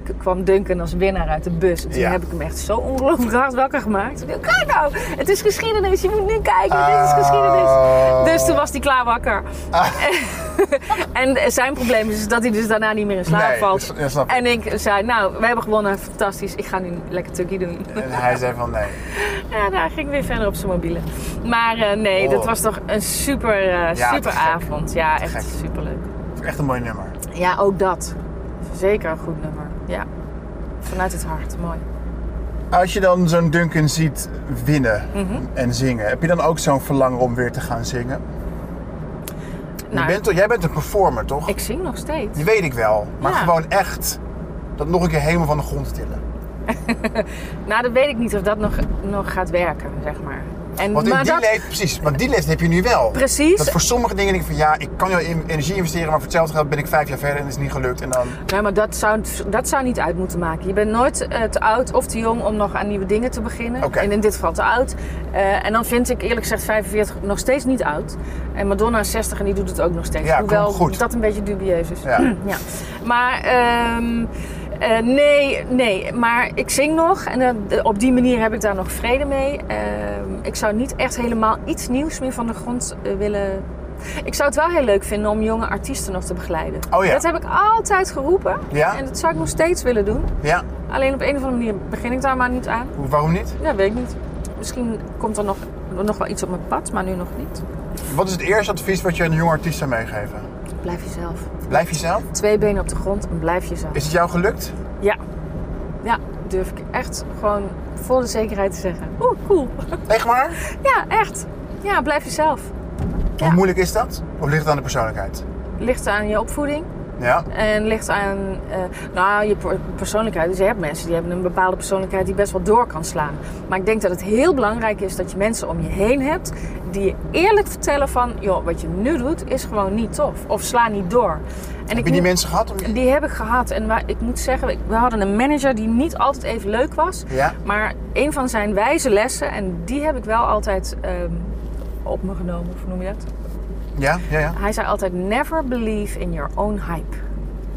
[SPEAKER 3] k- kwam Duncan als winnaar uit de bus. En toen
[SPEAKER 2] Ja.
[SPEAKER 3] heb ik hem echt zo ongelooflijk hard wakker gemaakt. Ik dacht, Kijk nou, het is geschiedenis. Je moet nu kijken, dit
[SPEAKER 2] Ah,
[SPEAKER 3] is geschiedenis.
[SPEAKER 2] Oh.
[SPEAKER 3] Dus toen was hij klaar wakker. en eh, zijn probleem is dat hij dus daarna niet meer in slaap
[SPEAKER 2] Nee, dus-
[SPEAKER 3] valt.
[SPEAKER 2] dat- dat snap ik.
[SPEAKER 3] En ik zei, nou, we hebben gewonnen, fantastisch, ik ga nu lekker tukkie doen.
[SPEAKER 2] En hij zei van nee.
[SPEAKER 3] Ja, daar ging ik weer verder op zijn mobiele. Maar eh, nee,
[SPEAKER 2] Oh.
[SPEAKER 3] dat was toch een super,
[SPEAKER 2] Ja,
[SPEAKER 3] eh, super
[SPEAKER 2] te gek.
[SPEAKER 3] avond. Ja,
[SPEAKER 2] Te
[SPEAKER 3] echt
[SPEAKER 2] gek.
[SPEAKER 3] superleuk.
[SPEAKER 2] Vond ik Echt een mooi nummer.
[SPEAKER 3] Ja, ook dat. Zeker een goed nummer. Ja, vanuit het hart, mooi.
[SPEAKER 2] Als je dan zo'n Duncan ziet winnen
[SPEAKER 3] Mhm.
[SPEAKER 2] en zingen, heb je dan ook zo'n verlangen om weer te gaan zingen?
[SPEAKER 3] Nou,
[SPEAKER 2] je bent, toch- jij bent een performer, toch?
[SPEAKER 3] ik zing nog steeds.
[SPEAKER 2] Die weet ik wel. Maar
[SPEAKER 3] Ja.
[SPEAKER 2] gewoon echt dat nog een keer helemaal van de grond tillen.
[SPEAKER 3] Nou, dan weet ik niet of dat nog, nog gaat werken, zeg maar. En,
[SPEAKER 2] Want in
[SPEAKER 3] maar
[SPEAKER 2] die
[SPEAKER 3] dat,
[SPEAKER 2] leeftijd, precies, want die leeftijd heb je nu wel.
[SPEAKER 3] Precies.
[SPEAKER 2] Dat voor sommige dingen denk ik van ja, ik kan wel in energie investeren, maar voor hetzelfde geld ben ik vijf jaar verder en het is niet gelukt. En dan,
[SPEAKER 3] Nee, maar dat zou, dat zou niet uit moeten maken. Je bent nooit eh, te oud of te jong om nog aan nieuwe dingen te beginnen.
[SPEAKER 2] Oké.
[SPEAKER 3] En in dit geval te oud. Eh, en dan vind ik eerlijk gezegd 45 nog steeds niet oud. En Madonna is 60 en die doet het ook nog steeds.
[SPEAKER 2] Ja,
[SPEAKER 3] Hoewel
[SPEAKER 2] komt goed.
[SPEAKER 3] dat een beetje dubieus is.
[SPEAKER 2] Ja.
[SPEAKER 3] Ja. Maar ehm, eh, nee, nee. Maar ik zing nog. En eh, op die manier heb ik daar nog vrede mee. Ehm, ik zou niet echt helemaal iets nieuws meer van de grond eh, willen... Ik zou het wel heel leuk vinden om jonge artiesten nog te begeleiden.
[SPEAKER 2] Oh ja.
[SPEAKER 3] Dat heb ik altijd geroepen.
[SPEAKER 2] Ja.
[SPEAKER 3] En dat zou ik nog steeds willen doen.
[SPEAKER 2] ja,
[SPEAKER 3] Alleen op een of andere manier begin ik daar maar niet aan.
[SPEAKER 2] hoe- waarom niet?
[SPEAKER 3] Ja, weet ik niet. Misschien komt er nog, nog wel iets op mijn pad, maar nu nog niet.
[SPEAKER 2] Wat is het eerste advies wat je aan een jonge artiest zou meegeven?
[SPEAKER 3] Blijf jezelf.
[SPEAKER 2] Blijf jezelf?
[SPEAKER 3] Twee benen op de grond en blijf jezelf.
[SPEAKER 2] Is het jou gelukt?
[SPEAKER 3] Ja. Ja, durf ik echt gewoon vol de zekerheid te zeggen. Oeh, cool.
[SPEAKER 2] Echt maar?
[SPEAKER 3] Ja, echt. Ja, blijf jezelf.
[SPEAKER 2] Hoe moeilijk is dat? Of ligt het aan de persoonlijkheid?
[SPEAKER 3] Ligt aan je opvoeding
[SPEAKER 2] Ja,
[SPEAKER 3] en ligt aan eh, nou, je per- persoonlijkheid. Dus je hebt mensen die hebben een bepaalde persoonlijkheid die best wel door kan slaan. Maar ik denk dat het heel belangrijk is dat je mensen om je heen hebt die je eerlijk vertellen van... joh, wat je nu doet is gewoon niet tof. Of sla niet door. En
[SPEAKER 2] heb je die mensen gehad? om je-
[SPEAKER 3] Die heb ik gehad. En waar, ik moet zeggen, ik- we hadden een manager die niet altijd even leuk was.
[SPEAKER 2] Ja.
[SPEAKER 3] Maar een van zijn wijze lessen, en die heb ik wel altijd ehm, op me genomen, of hoe noem je dat?
[SPEAKER 2] Ja, ja, ja.
[SPEAKER 3] Hij zei altijd, never believe in your own hype.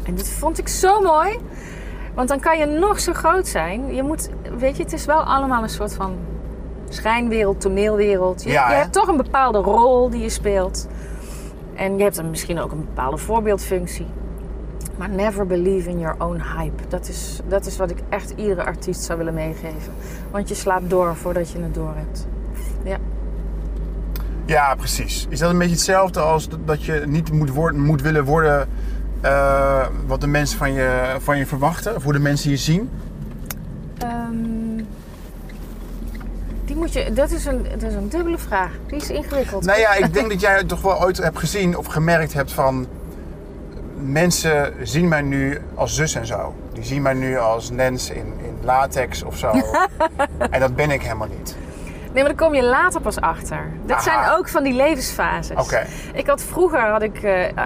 [SPEAKER 3] En dit vond ik zo mooi. Want dan kan je nog zo groot zijn. Je moet, weet je, het is wel allemaal een soort van schijnwereld, toneelwereld. Je,
[SPEAKER 2] Ja,
[SPEAKER 3] je
[SPEAKER 2] hè?
[SPEAKER 3] hebt toch een bepaalde rol die je speelt. En je hebt dan misschien ook een bepaalde voorbeeldfunctie. Maar never believe in your own hype. Dat is, dat is wat ik echt iedere artiest zou willen meegeven. Want je slaapt door voordat je het door hebt. Ja.
[SPEAKER 2] Ja, precies. Is dat een beetje hetzelfde als dat- dat je niet moet, worden, moet willen worden eh, wat de mensen van je, van je verwachten? Of hoe de mensen je zien?
[SPEAKER 3] Ehm, die moet je, dat, is een, dat is een dubbele vraag. Die is ingewikkeld.
[SPEAKER 2] Nou ja, ik denk dat jij toch wel ooit hebt gezien of gemerkt hebt van... Mensen zien mij nu als zus en zo. Die zien mij nu als Nens in, in latex of zo. en dat ben ik helemaal niet.
[SPEAKER 3] Nee, maar daar kom je later pas achter. Dat
[SPEAKER 2] Aha.
[SPEAKER 3] zijn ook van die levensfases.
[SPEAKER 2] Oké.
[SPEAKER 3] Ik had vroeger had ik, eh, eh,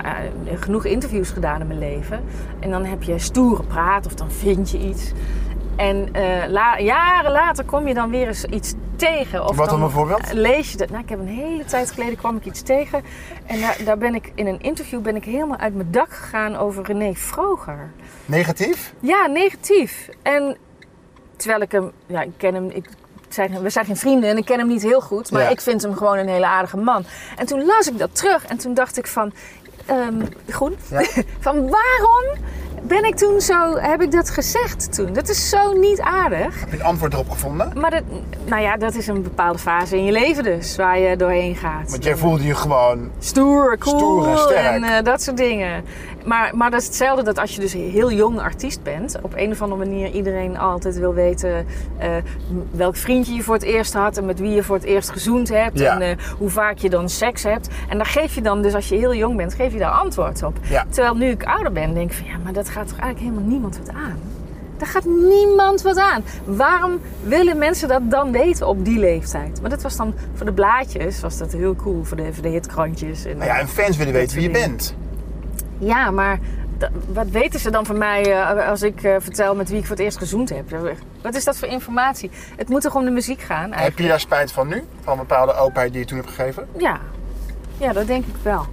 [SPEAKER 3] genoeg interviews gedaan in mijn leven. En dan heb je stoere praat of dan vind je iets. En eh, la- jaren later kom je dan weer eens iets tegen. Of
[SPEAKER 2] Wat dan bijvoorbeeld?
[SPEAKER 3] Lees je dat. Nou, ik heb een hele tijd geleden kwam ik iets tegen. En daar, daar ben ik in een interview ben ik helemaal uit mijn dak gegaan over René Vroger.
[SPEAKER 2] Negatief?
[SPEAKER 3] Ja, negatief. En terwijl ik hem, ja, ik ken hem, ik, zijn, we zijn geen vrienden en ik ken hem niet heel goed, maar
[SPEAKER 2] Ja.
[SPEAKER 3] ik vind hem gewoon een hele aardige man. En toen las ik dat terug en toen dacht ik van, ehm, groen,
[SPEAKER 2] Ja.
[SPEAKER 3] van waarom ben ik toen zo, heb ik dat gezegd toen? Dat is zo niet aardig.
[SPEAKER 2] Heb je een antwoord erop gevonden?
[SPEAKER 3] Maar dat, nou ja, dat is een bepaalde fase in je leven dus, waar je doorheen gaat.
[SPEAKER 2] Want jij voelde je gewoon...
[SPEAKER 3] Stoer, cool
[SPEAKER 2] Stoer en sterk.
[SPEAKER 3] en eh, dat soort dingen. Maar, maar dat is hetzelfde dat als je dus heel jong artiest bent... op een of andere manier iedereen altijd wil weten... eh, m- welk vriendje je voor het eerst had... en met wie je voor het eerst gezoend hebt...
[SPEAKER 2] Ja.
[SPEAKER 3] en eh, hoe vaak je dan seks hebt. En daar geef je dan dus als je heel jong bent... geef je daar antwoord op.
[SPEAKER 2] Ja.
[SPEAKER 3] Terwijl nu ik ouder ben, denk ik van... ja, maar dat gaat toch eigenlijk helemaal niemand wat aan? Daar gaat niemand wat aan. Waarom willen mensen dat dan weten op die leeftijd? Maar dat was dan voor de blaadjes, was dat heel cool. Voor de, voor de hitkrantjes. En,
[SPEAKER 2] Nou ja, en fans willen weten wie je
[SPEAKER 3] soort
[SPEAKER 2] bent.
[SPEAKER 3] ja, maar da- wat weten ze dan van mij eh, als ik eh, vertel met wie ik voor het eerst gezoend heb? Wat is dat voor informatie? Het moet toch om de muziek gaan?
[SPEAKER 2] Heb
[SPEAKER 3] Eigenlijk?
[SPEAKER 2] je daar spijt van nu? Van een bepaalde openheid die je toen hebt gegeven?
[SPEAKER 3] Ja. ja, dat denk ik wel.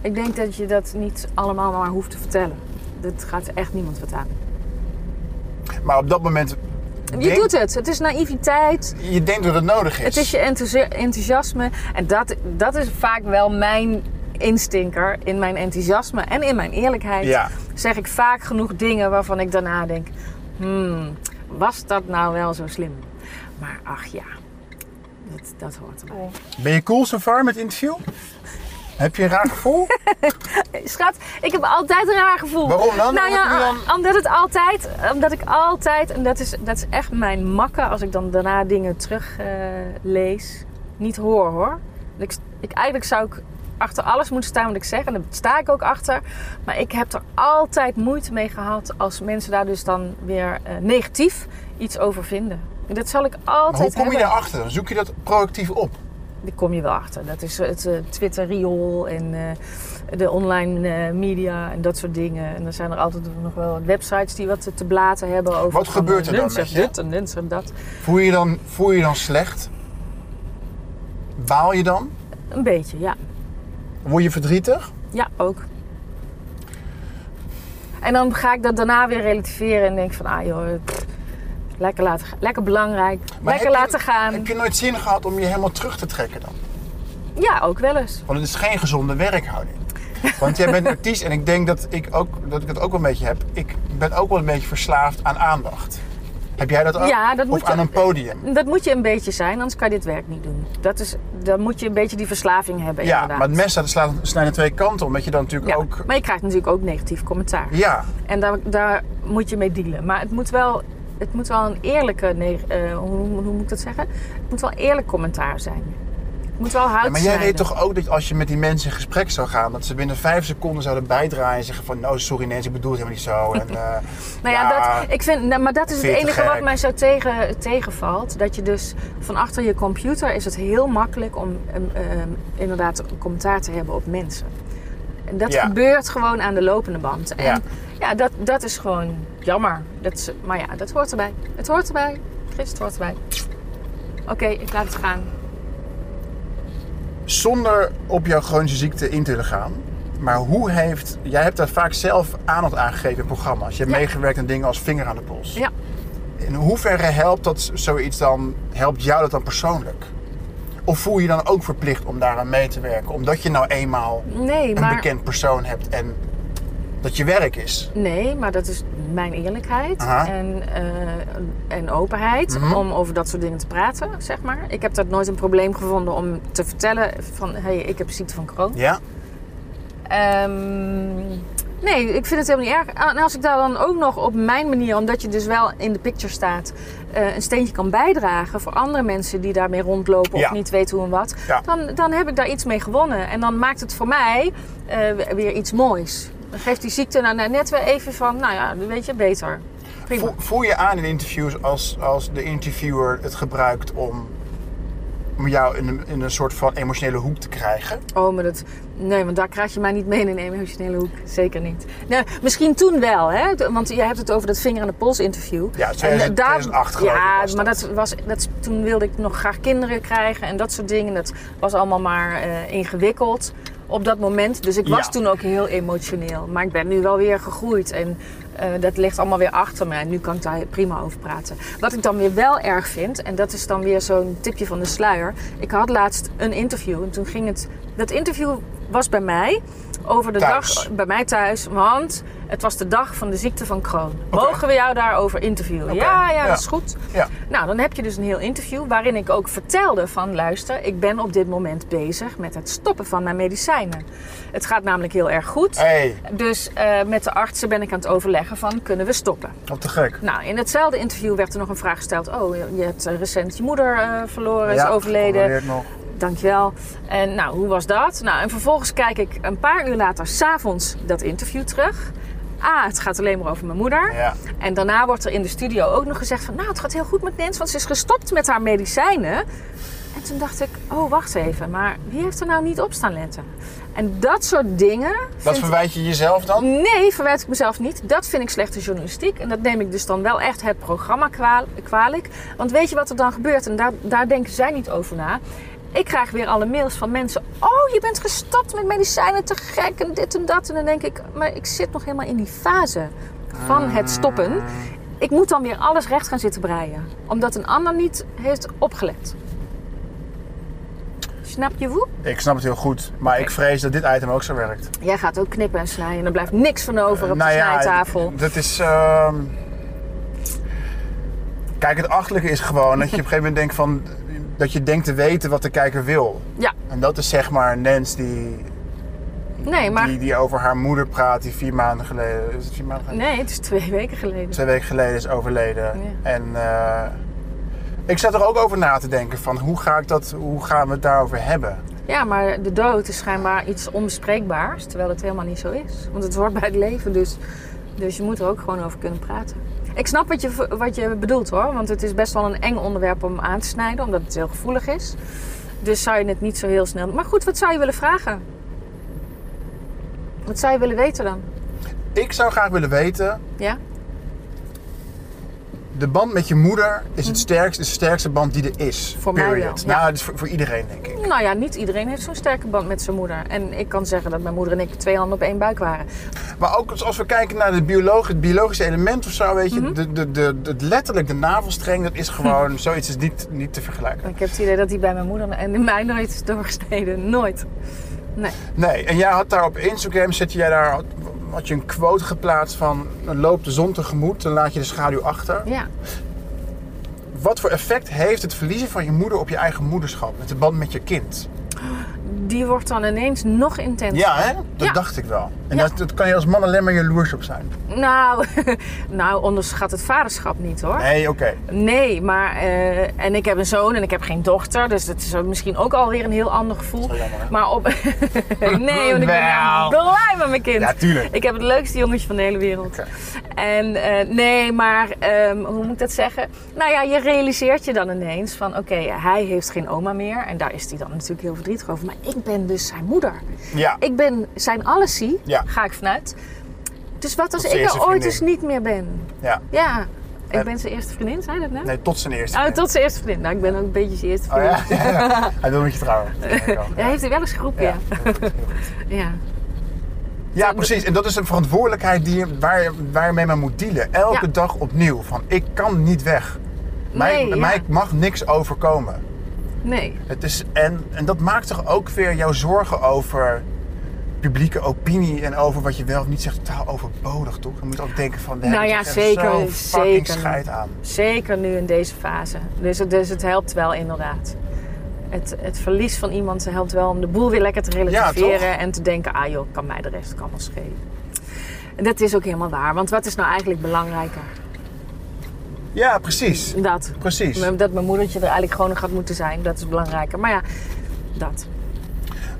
[SPEAKER 3] Ik denk dat je dat niet allemaal maar hoeft te vertellen. Dat gaat echt niemand wat aan.
[SPEAKER 2] Maar op dat moment...
[SPEAKER 3] Je
[SPEAKER 2] denk-
[SPEAKER 3] doet het. Het is naïviteit.
[SPEAKER 2] Je denkt dat het nodig is.
[SPEAKER 3] Het is je enthousi- enthousiasme. En dat, dat is vaak wel mijn instinker in mijn enthousiasme en in mijn eerlijkheid.
[SPEAKER 2] Ja.
[SPEAKER 3] Zeg ik vaak genoeg dingen waarvan ik daarna denk: hmm, was dat nou wel zo slim? Maar ach ja, dat, dat hoort erbij.
[SPEAKER 2] Ben je cool so far met interview? Heb je een raar gevoel?
[SPEAKER 3] Schat, ik heb altijd een raar gevoel.
[SPEAKER 2] Waarom dan?
[SPEAKER 3] Nou
[SPEAKER 2] Omdat
[SPEAKER 3] ja,
[SPEAKER 2] je
[SPEAKER 3] omdat het altijd, omdat ik altijd, en dat is, dat is echt mijn makke als ik dan daarna dingen teruglees, lees, niet hoor hoor. Ik, ik, eigenlijk zou ik achter alles moeten staan wat ik zeg en daar sta ik ook achter. Maar ik heb er altijd moeite mee gehad als mensen daar dus dan weer eh, negatief iets over vinden. Dat zal ik
[SPEAKER 2] Maar
[SPEAKER 3] altijd
[SPEAKER 2] hoe kom je
[SPEAKER 3] hebben.
[SPEAKER 2] daarachter? Dan zoek je dat proactief op.
[SPEAKER 3] Daar kom je wel achter. Dat is het eh, Twitter-riool en eh, de online eh, media en dat soort dingen. En dan zijn er altijd nog wel wat websites die wat te blaten hebben over...
[SPEAKER 2] Wat
[SPEAKER 3] van,
[SPEAKER 2] gebeurt er dan
[SPEAKER 3] Nun zegt
[SPEAKER 2] met je?
[SPEAKER 3] dit en Nun zegt dat.
[SPEAKER 2] Voel je dan, voel je dan slecht? Baal je dan?
[SPEAKER 3] Een beetje, ja.
[SPEAKER 2] Word je verdrietig?
[SPEAKER 3] Ja, ook. En dan ga ik dat daarna weer relativeren en denk van, ah joh, pff, lekker, laten, gaan. lekker belangrijk, lekker
[SPEAKER 2] heb je-
[SPEAKER 3] laten gaan.
[SPEAKER 2] Heb je nooit zin gehad om je helemaal terug te trekken dan?
[SPEAKER 3] Ja, ook wel eens.
[SPEAKER 2] Want het is geen gezonde werkhouding. Want jij bent een artiest en ik denk dat ik, ook, dat ik het ook wel een beetje heb. Ik ben ook wel een beetje verslaafd aan aandacht. Heb jij dat ook?
[SPEAKER 3] Ja, dat
[SPEAKER 2] of
[SPEAKER 3] moet je-
[SPEAKER 2] aan een podium?
[SPEAKER 3] Dat moet je een beetje zijn, anders kan je dit werk niet doen. Dat is, dan moet je een beetje die verslaving hebben
[SPEAKER 2] Ja,
[SPEAKER 3] inderdaad.
[SPEAKER 2] maar het mes dat slaat, snijdt twee kanten omdat je dan natuurlijk
[SPEAKER 3] Ja,
[SPEAKER 2] ook...
[SPEAKER 3] maar je krijgt natuurlijk ook negatief commentaar.
[SPEAKER 2] Ja,
[SPEAKER 3] En daar, daar moet je mee dealen. Maar het moet wel, het moet wel een eerlijke... Nee, eh, hoe, hoe moet ik dat zeggen? Het moet wel eerlijk commentaar zijn. Het moet wel hout
[SPEAKER 2] Ja, maar jij weet
[SPEAKER 3] snijden.
[SPEAKER 2] toch ook dat als je met die mensen in gesprek zou gaan, dat ze binnen vijf seconden zouden bijdragen en zeggen van, nou sorry Nancy, ik bedoel het helemaal niet zo. En, eh,
[SPEAKER 3] Nou ja, dat, ik vind, nou, maar dat is het
[SPEAKER 2] vind je te
[SPEAKER 3] enige wat
[SPEAKER 2] gek.
[SPEAKER 3] mij zo tegen, tegenvalt. Dat je dus van achter je computer is het heel makkelijk om ehm, ehm, inderdaad commentaar te hebben op mensen. En dat
[SPEAKER 2] Ja.
[SPEAKER 3] gebeurt gewoon aan de lopende band. En
[SPEAKER 2] Ja.
[SPEAKER 3] ja, dat, dat is gewoon jammer. Dat is, maar ja, dat hoort erbij. Het hoort erbij. Chris, het hoort erbij. Oké, ik laat het gaan.
[SPEAKER 2] Zonder op jouw chronische ziekte in te willen gaan. Maar hoe heeft, jij hebt daar vaak zelf aandacht aan gegeven in programma's. Je hebt
[SPEAKER 3] Ja.
[SPEAKER 2] meegewerkt aan dingen als vinger aan de pols.
[SPEAKER 3] Ja.
[SPEAKER 2] In hoeverre helpt dat zoiets dan, helpt jou dat dan persoonlijk? Of voel je je dan ook verplicht om daaraan mee te werken? Omdat je nou eenmaal
[SPEAKER 3] Nee,
[SPEAKER 2] een
[SPEAKER 3] maar...
[SPEAKER 2] bekend persoon hebt en dat je werk is.
[SPEAKER 3] Nee, maar dat is mijn eerlijkheid
[SPEAKER 2] Aha.
[SPEAKER 3] en, eh, en openheid om over dat soort dingen te praten, zeg maar. Ik heb dat nooit een probleem gevonden om te vertellen van, hé, hey, ik heb ziekte van Crohn.
[SPEAKER 2] Ja?
[SPEAKER 3] Ehm, nee, ik vind het helemaal niet erg. En als ik daar dan ook nog op mijn manier, omdat je dus wel in de picture staat, eh, een steentje kan bijdragen voor andere mensen die daarmee rondlopen
[SPEAKER 2] Ja.
[SPEAKER 3] of niet weten hoe en wat,
[SPEAKER 2] Ja.
[SPEAKER 3] dan, dan heb ik daar iets mee gewonnen. En dan maakt het voor mij eh, weer iets moois. Dan geeft die ziekte nou net weer even van, nou ja, weet je, beter. Prima.
[SPEAKER 2] Voel, voel je aan in interviews als, als de interviewer het gebruikt om, om jou in een, in een soort van emotionele hoek te krijgen?
[SPEAKER 3] Oh, maar dat. Nee, want daar krijg je mij niet mee in een emotionele hoek. Zeker niet. Nou, misschien toen wel, hè? De- Want je hebt het over dat vinger aan de pols interview.
[SPEAKER 2] Ja,
[SPEAKER 3] En
[SPEAKER 2] 2000-
[SPEAKER 3] eh,
[SPEAKER 2] 2008 geloof ik
[SPEAKER 3] Ja,
[SPEAKER 2] was
[SPEAKER 3] maar
[SPEAKER 2] dat.
[SPEAKER 3] dat was, dat, is- toen wilde ik nog graag kinderen krijgen en dat soort dingen. Dat was allemaal maar eh, ingewikkeld op dat moment. Dus ik was
[SPEAKER 2] Ja.
[SPEAKER 3] toen ook heel emotioneel. Maar ik ben nu wel weer gegroeid en eh, dat ligt allemaal weer achter me. En nu kan ik daar prima over praten. Wat ik dan weer wel erg vind, en dat is dan weer zo'n tipje van de sluier. Ik had laatst een interview en toen ging het... Dat interview was bij mij over de
[SPEAKER 2] Thuis.
[SPEAKER 3] dag... Bij mij thuis, want het was de dag van de ziekte van Crohn. Mogen we jou daarover interviewen? Ja, ja,
[SPEAKER 2] ja.
[SPEAKER 3] dat is goed.
[SPEAKER 2] Ja.
[SPEAKER 3] Nou, dan heb je dus een heel interview waarin ik ook vertelde van... luister, ik ben op dit moment bezig met het stoppen van mijn medicijnen. Het gaat namelijk heel erg goed.
[SPEAKER 2] Hé,
[SPEAKER 3] Dus eh, met de artsen ben ik aan het overleggen van kunnen we stoppen.
[SPEAKER 2] wat te gek.
[SPEAKER 3] Nou, in hetzelfde interview werd er nog een vraag gesteld. Oh, je je hebt eh, recent je moeder eh, verloren, is overleden.
[SPEAKER 2] gecondoleerd nog.
[SPEAKER 3] Dankjewel. En nou, hoe was dat? Nou, en vervolgens kijk ik een paar uur later s'avonds dat interview terug. Ah, het gaat alleen maar over mijn moeder.
[SPEAKER 2] Ja.
[SPEAKER 3] En daarna wordt er in de studio ook nog gezegd van... nou, het gaat heel goed met Nens, want ze is gestopt met haar medicijnen. En toen dacht ik, oh, wacht even. Maar wie heeft er nou niet op staan letten? En dat soort dingen...
[SPEAKER 2] Dat
[SPEAKER 3] vind ik-
[SPEAKER 2] verwijt je jezelf dan?
[SPEAKER 3] Nee, verwijt ik mezelf niet. Dat vind ik slechte journalistiek. En dat neem ik dus dan wel echt het programma kwaal- kwalijk. Want weet je wat er dan gebeurt? En daar, daar denken zij niet over na. Ik krijg weer alle mails van mensen. Oh, je bent gestopt met medicijnen, te gek en dit en dat. En dan denk ik, maar ik zit nog helemaal in die fase van het stoppen. Ik moet dan weer alles recht gaan zitten breien. Omdat een ander niet heeft opgelet. Snap je woe?
[SPEAKER 2] Ik snap het heel goed, maar ik vrees dat dit item ook zo werkt.
[SPEAKER 3] Jij gaat ook knippen en snijden. En er blijft niks van over op de
[SPEAKER 2] Nou ja,
[SPEAKER 3] snijtafel.
[SPEAKER 2] Dat is. ehm, Kijk, het achterlijke is gewoon dat je op een gegeven moment denkt van. dat je denkt te weten wat de kijker wil.
[SPEAKER 3] Ja,
[SPEAKER 2] En dat is zeg maar Nens die,
[SPEAKER 3] nee, maar.
[SPEAKER 2] die, die over haar moeder praat, die vier maanden geleden. Is het vier maanden geleden?
[SPEAKER 3] Nee, het is twee weken geleden.
[SPEAKER 2] twee weken geleden is overleden.
[SPEAKER 3] Ja.
[SPEAKER 2] En eh, ik zat er ook over na te denken van hoe ga ik dat, hoe gaan we het daarover hebben?
[SPEAKER 3] Ja, maar de dood is schijnbaar iets onbespreekbaars, terwijl het helemaal niet zo is. Want het hoort bij het leven, dus, dus je moet er ook gewoon over kunnen praten. Ik snap wat je, wat je bedoelt hoor. Want het is best wel een eng onderwerp om aan te snijden, omdat het heel gevoelig is. Dus zou je het niet zo heel snel. Maar goed, wat zou je willen vragen? Wat zou je willen weten dan?
[SPEAKER 2] Ik zou graag willen weten,
[SPEAKER 3] Ja?
[SPEAKER 2] de band met je moeder is het sterkst, is de sterkste band die er is.
[SPEAKER 3] Voor mij wel,
[SPEAKER 2] Period.
[SPEAKER 3] ja.
[SPEAKER 2] Nou, dat is voor, voor iedereen denk ik.
[SPEAKER 3] Nou ja, niet iedereen heeft zo'n sterke band met zijn moeder. En ik kan zeggen dat mijn moeder en ik twee handen op één buik waren.
[SPEAKER 2] Maar ook als, als we kijken naar de bioloog, het biologische element of zo, weet je,
[SPEAKER 3] Mhm.
[SPEAKER 2] de, de, de, de- letterlijk de navelstreng, dat is gewoon,
[SPEAKER 3] Hm.
[SPEAKER 2] zoiets is niet, niet te vergelijken.
[SPEAKER 3] Ik heb het idee dat die bij mijn moeder en in mij nooit is doorgesneden. Nooit. Nee.
[SPEAKER 2] Nee, en jij had daar op Instagram, zette jij daar, had, had je een quote geplaatst van, loop de zon tegemoet, dan laat je de schaduw achter.
[SPEAKER 3] Ja.
[SPEAKER 2] Wat voor effect heeft het verliezen van je moeder op je eigen moederschap, met de band met je kind?
[SPEAKER 3] Die wordt dan ineens nog intenser.
[SPEAKER 2] Ja, hè? Dat
[SPEAKER 3] Ja.
[SPEAKER 2] dacht ik wel. En
[SPEAKER 3] Ja.
[SPEAKER 2] dat, dat kan je als man alleen maar jaloers op zijn.
[SPEAKER 3] Nou, nou, onderschat het vaderschap niet hoor.
[SPEAKER 2] Nee, oké.
[SPEAKER 3] Nee, maar eh, en ik heb een zoon en ik heb geen dochter, dus dat is misschien ook alweer een heel ander gevoel.
[SPEAKER 2] wel jammer, hè?
[SPEAKER 3] maar op nee, want ik ben
[SPEAKER 2] Wel.
[SPEAKER 3] nou blij met mijn kind.
[SPEAKER 2] Ja, tuurlijk.
[SPEAKER 3] Ik heb het leukste jongetje van de hele wereld.
[SPEAKER 2] Oké.
[SPEAKER 3] En eh, nee, maar ehm, hoe moet ik dat zeggen? Nou ja, je realiseert je dan ineens van oké, hij heeft geen oma meer en daar is hij dan natuurlijk heel verdrietig over. Maar ik ben dus zijn moeder.
[SPEAKER 2] Ja.
[SPEAKER 3] Ik ben zijn allesie,
[SPEAKER 2] Ja.
[SPEAKER 3] ga ik vanuit. Dus wat als
[SPEAKER 2] Tot zijn
[SPEAKER 3] ik er
[SPEAKER 2] eerste
[SPEAKER 3] ooit
[SPEAKER 2] vriendin.
[SPEAKER 3] eens niet meer ben?
[SPEAKER 2] Ja.
[SPEAKER 3] Ja,
[SPEAKER 2] En-
[SPEAKER 3] ik ben zijn eerste vriendin, zei je dat net?
[SPEAKER 2] Nee, tot zijn eerste.
[SPEAKER 3] Oh,
[SPEAKER 2] keer.
[SPEAKER 3] tot zijn eerste vriendin. Nou, ik ben ook een beetje zijn eerste
[SPEAKER 2] Oh
[SPEAKER 3] vriendin.
[SPEAKER 2] ja? Ja, ja. Hij wil met je trouwen. Ja,
[SPEAKER 3] Ja, heeft hij wel eens geroepen, ja.
[SPEAKER 2] heel goed, heel goed.
[SPEAKER 3] Ja.
[SPEAKER 2] Ja, precies. En dat is een verantwoordelijkheid die je, waar, je- waar je mee maar moet dealen. Elke
[SPEAKER 3] Ja.
[SPEAKER 2] dag opnieuw. Van ik kan niet weg. Mij,
[SPEAKER 3] Nee, ja.
[SPEAKER 2] mij mag niks overkomen.
[SPEAKER 3] Nee.
[SPEAKER 2] Het is, en, en dat maakt toch ook weer jouw zorgen over publieke opinie en over wat je wel of niet zegt totaal overbodig, toch? Dan moet je ook denken van, nee,
[SPEAKER 3] nou ja, zeker.
[SPEAKER 2] zo fucking
[SPEAKER 3] Zeker.
[SPEAKER 2] scheid aan.
[SPEAKER 3] Zeker nu in deze fase. Dus het, dus het helpt wel inderdaad. Het, het verlies van iemand helpt wel om de boel weer lekker te relativeren. en te denken, ah joh, kan mij de rest ook allemaal schelen. En dat is ook helemaal waar. Want wat is nou eigenlijk belangrijker?
[SPEAKER 2] Ja, precies.
[SPEAKER 3] Dat.
[SPEAKER 2] Precies.
[SPEAKER 3] Dat mijn moedertje er eigenlijk gewoon nog had moeten zijn. Dat is belangrijker. Maar ja, dat.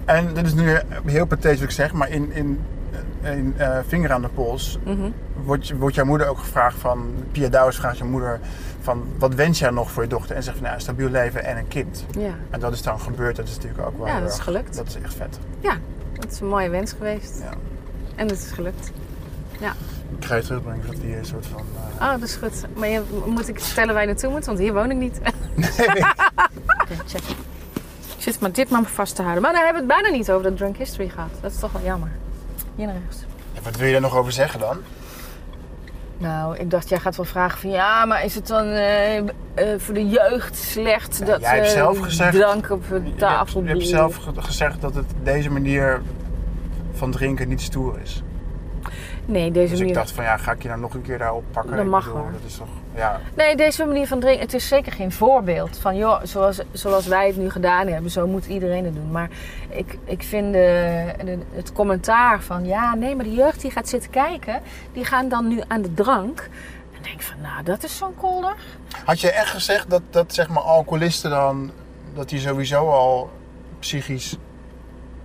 [SPEAKER 2] En dit is nu heel pathetisch wat ik zeg, maar in, in, in eh, Vinger aan de Pols
[SPEAKER 3] Mhm.
[SPEAKER 2] wordt, je- wordt jouw moeder ook gevraagd van... Pia Douwers vraagt je moeder van wat wens jij nog voor je dochter? En zegt van nou, een stabiel leven en een kind.
[SPEAKER 3] Ja.
[SPEAKER 2] En dat is dan gebeurd, dat is natuurlijk ook wel
[SPEAKER 3] Ja,
[SPEAKER 2] heel
[SPEAKER 3] dat is
[SPEAKER 2] erg-
[SPEAKER 3] gelukt.
[SPEAKER 2] Dat is echt vet.
[SPEAKER 3] Ja, dat is een mooie wens geweest.
[SPEAKER 2] Ja.
[SPEAKER 3] En het is gelukt. Ja,
[SPEAKER 2] Ik ga je terugbrengen dat die een soort van... eh,
[SPEAKER 3] oh, dat is goed. Maar je, moet ik vertellen waar je naartoe moet? Want hier woon ik niet. Nee. check. Ik zit maar dit maar vast te houden. Maar daar hebben we het bijna niet over dat drunk history gehad. Dat is toch wel jammer. Hier naar rechts.
[SPEAKER 2] ja, wat wil je daar nog over zeggen dan?
[SPEAKER 3] Nou, ik dacht, jij gaat wel vragen van... Ja, maar is het dan eh, eh, voor de jeugd slecht dat
[SPEAKER 2] jij hebt
[SPEAKER 3] eh,
[SPEAKER 2] zelf gezegd-
[SPEAKER 3] drank op
[SPEAKER 2] Je
[SPEAKER 3] de
[SPEAKER 2] hebt,
[SPEAKER 3] tafel
[SPEAKER 2] je hebt
[SPEAKER 3] boel?
[SPEAKER 2] zelf ge- gezegd dat het deze manier van drinken niet stoer is.
[SPEAKER 3] Nee, deze
[SPEAKER 2] Dus ik
[SPEAKER 3] manier...
[SPEAKER 2] dacht van ja, ga ik je nou nog een keer daarop pakken?
[SPEAKER 3] Dat
[SPEAKER 2] Ik
[SPEAKER 3] mag
[SPEAKER 2] bedoel,
[SPEAKER 3] hoor.
[SPEAKER 2] Dat is toch... Ja,
[SPEAKER 3] Nee, deze manier van drinken, het is zeker geen voorbeeld van joh, zoals, zoals wij het nu gedaan hebben, zo moet iedereen het doen. Maar ik, ik vind de, de- het commentaar van ja, nee, maar de jeugd die gaat zitten kijken, die gaan dan nu aan de drank. En denk van nou, dat is zo'n kolder.
[SPEAKER 2] Had je echt gezegd dat, dat zeg maar alcoholisten dan, dat die sowieso al psychisch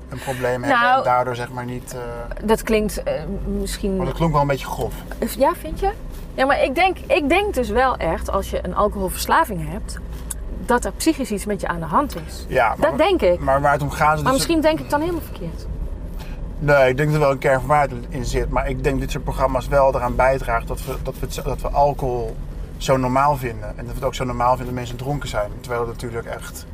[SPEAKER 2] een probleem hebben
[SPEAKER 3] Nou-
[SPEAKER 2] en daardoor zeg maar niet... eh,
[SPEAKER 3] Dat klinkt eh, misschien.
[SPEAKER 2] Maar dat klonk wel een beetje grof.
[SPEAKER 3] Ja, vind je? Ja, maar ik denk, ik denk dus wel echt, als je een alcoholverslaving hebt, dat er psychisch iets met je aan de hand is.
[SPEAKER 2] Ja, maar,
[SPEAKER 3] dat denk ik.
[SPEAKER 2] Maar waar het om gaat... is dat
[SPEAKER 3] Maar
[SPEAKER 2] ze-
[SPEAKER 3] misschien denk ik dan helemaal verkeerd.
[SPEAKER 2] Nee, ik denk dat er wel een kern van waarheid in zit. Maar ik denk dat dit soort programma's wel eraan bijdraagt dat we, dat we, het- dat we alcohol zo normaal vinden. En dat we het ook zo normaal vinden dat mensen dronken zijn. Terwijl het natuurlijk echt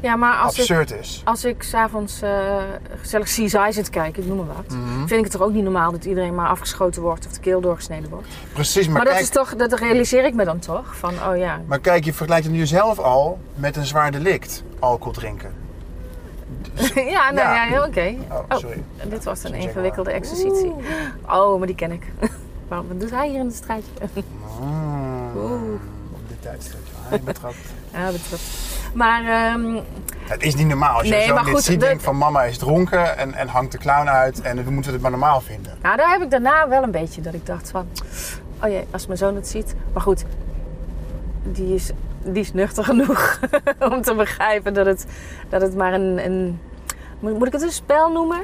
[SPEAKER 3] Ja, maar als ik-
[SPEAKER 2] absurd is.
[SPEAKER 3] Als ik s'avonds eh gezellig CSI zit te kijken, ik noem maar wat,
[SPEAKER 2] Mhm.
[SPEAKER 3] vind ik het toch ook niet normaal dat iedereen maar afgeschoten wordt of de keel doorgesneden wordt. Maar,
[SPEAKER 2] Precies, maar,
[SPEAKER 3] dat
[SPEAKER 2] kijk,
[SPEAKER 3] is toch, dat realiseer ik me dan toch? Van, oh ja,
[SPEAKER 2] maar kijk, je vergelijkt het nu zelf al met een zwaar delict. Alcohol drinken.
[SPEAKER 3] ja, nou
[SPEAKER 2] Ja.
[SPEAKER 3] ja, heel oké.
[SPEAKER 2] Oh, sorry.
[SPEAKER 3] dit was
[SPEAKER 2] Zeg
[SPEAKER 3] een
[SPEAKER 2] maar.
[SPEAKER 3] ingewikkelde exercitie. Oh, maar die ken ik. Waarom wat doet hij hier in de strijd?
[SPEAKER 2] Mm, Op dit tijdstip. ja, je bent er ook-
[SPEAKER 3] ja, dat klopt. Maar ehm,
[SPEAKER 2] Het is niet normaal. Als je
[SPEAKER 3] Nee,
[SPEAKER 2] zo
[SPEAKER 3] maar
[SPEAKER 2] dit
[SPEAKER 3] goed,
[SPEAKER 2] ziet,
[SPEAKER 3] de-
[SPEAKER 2] denk van mama is dronken en, en hangt de clown uit en dan moeten we het maar normaal vinden.
[SPEAKER 3] nou, daar heb ik daarna wel een beetje dat ik dacht van, oh jee, als mijn zoon het ziet. Maar goed, die is, die is nuchter genoeg om te begrijpen dat het, dat het maar een, een. Moet moet ik het een spel noemen?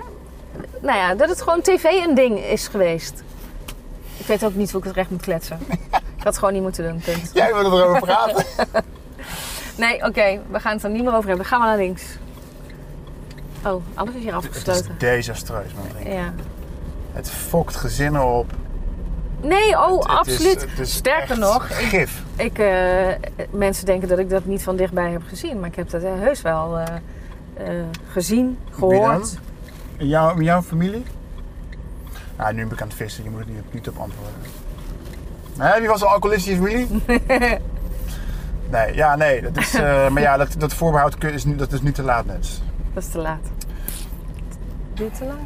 [SPEAKER 3] Nou ja, dat het gewoon tv een ding is geweest. Ik weet ook niet hoe ik het recht moet kletsen. Ik had het gewoon niet moeten doen, punt.
[SPEAKER 2] Jij wil erover praten.
[SPEAKER 3] Nee, oké, we gaan het er niet meer over hebben. Gaan we naar links. Oh, alles is hier
[SPEAKER 2] Het is
[SPEAKER 3] afgesloten.
[SPEAKER 2] desastreus, man.
[SPEAKER 3] Ja.
[SPEAKER 2] Het fokt gezinnen op.
[SPEAKER 3] Nee, oh,
[SPEAKER 2] Het- het is-
[SPEAKER 3] absoluut.
[SPEAKER 2] het is
[SPEAKER 3] Sterker
[SPEAKER 2] echt
[SPEAKER 3] nog, ik,
[SPEAKER 2] Gif.
[SPEAKER 3] ik, eh, mensen denken dat ik dat niet van dichtbij heb gezien. Maar ik heb dat eh, heus wel eh, eh, gezien, gehoord.
[SPEAKER 2] In jouw, in jouw familie? Nou, nu ben ik aan het vissen, je moet het niet, niet op antwoorden. Hè, wie was een alcoholistische familie? nee, ja, nee. Dat is, eh, maar ja, dat, dat voorbehoud kun- is, nu- dat is nu te laat net.
[SPEAKER 3] Dat is te laat. Duurt te lang?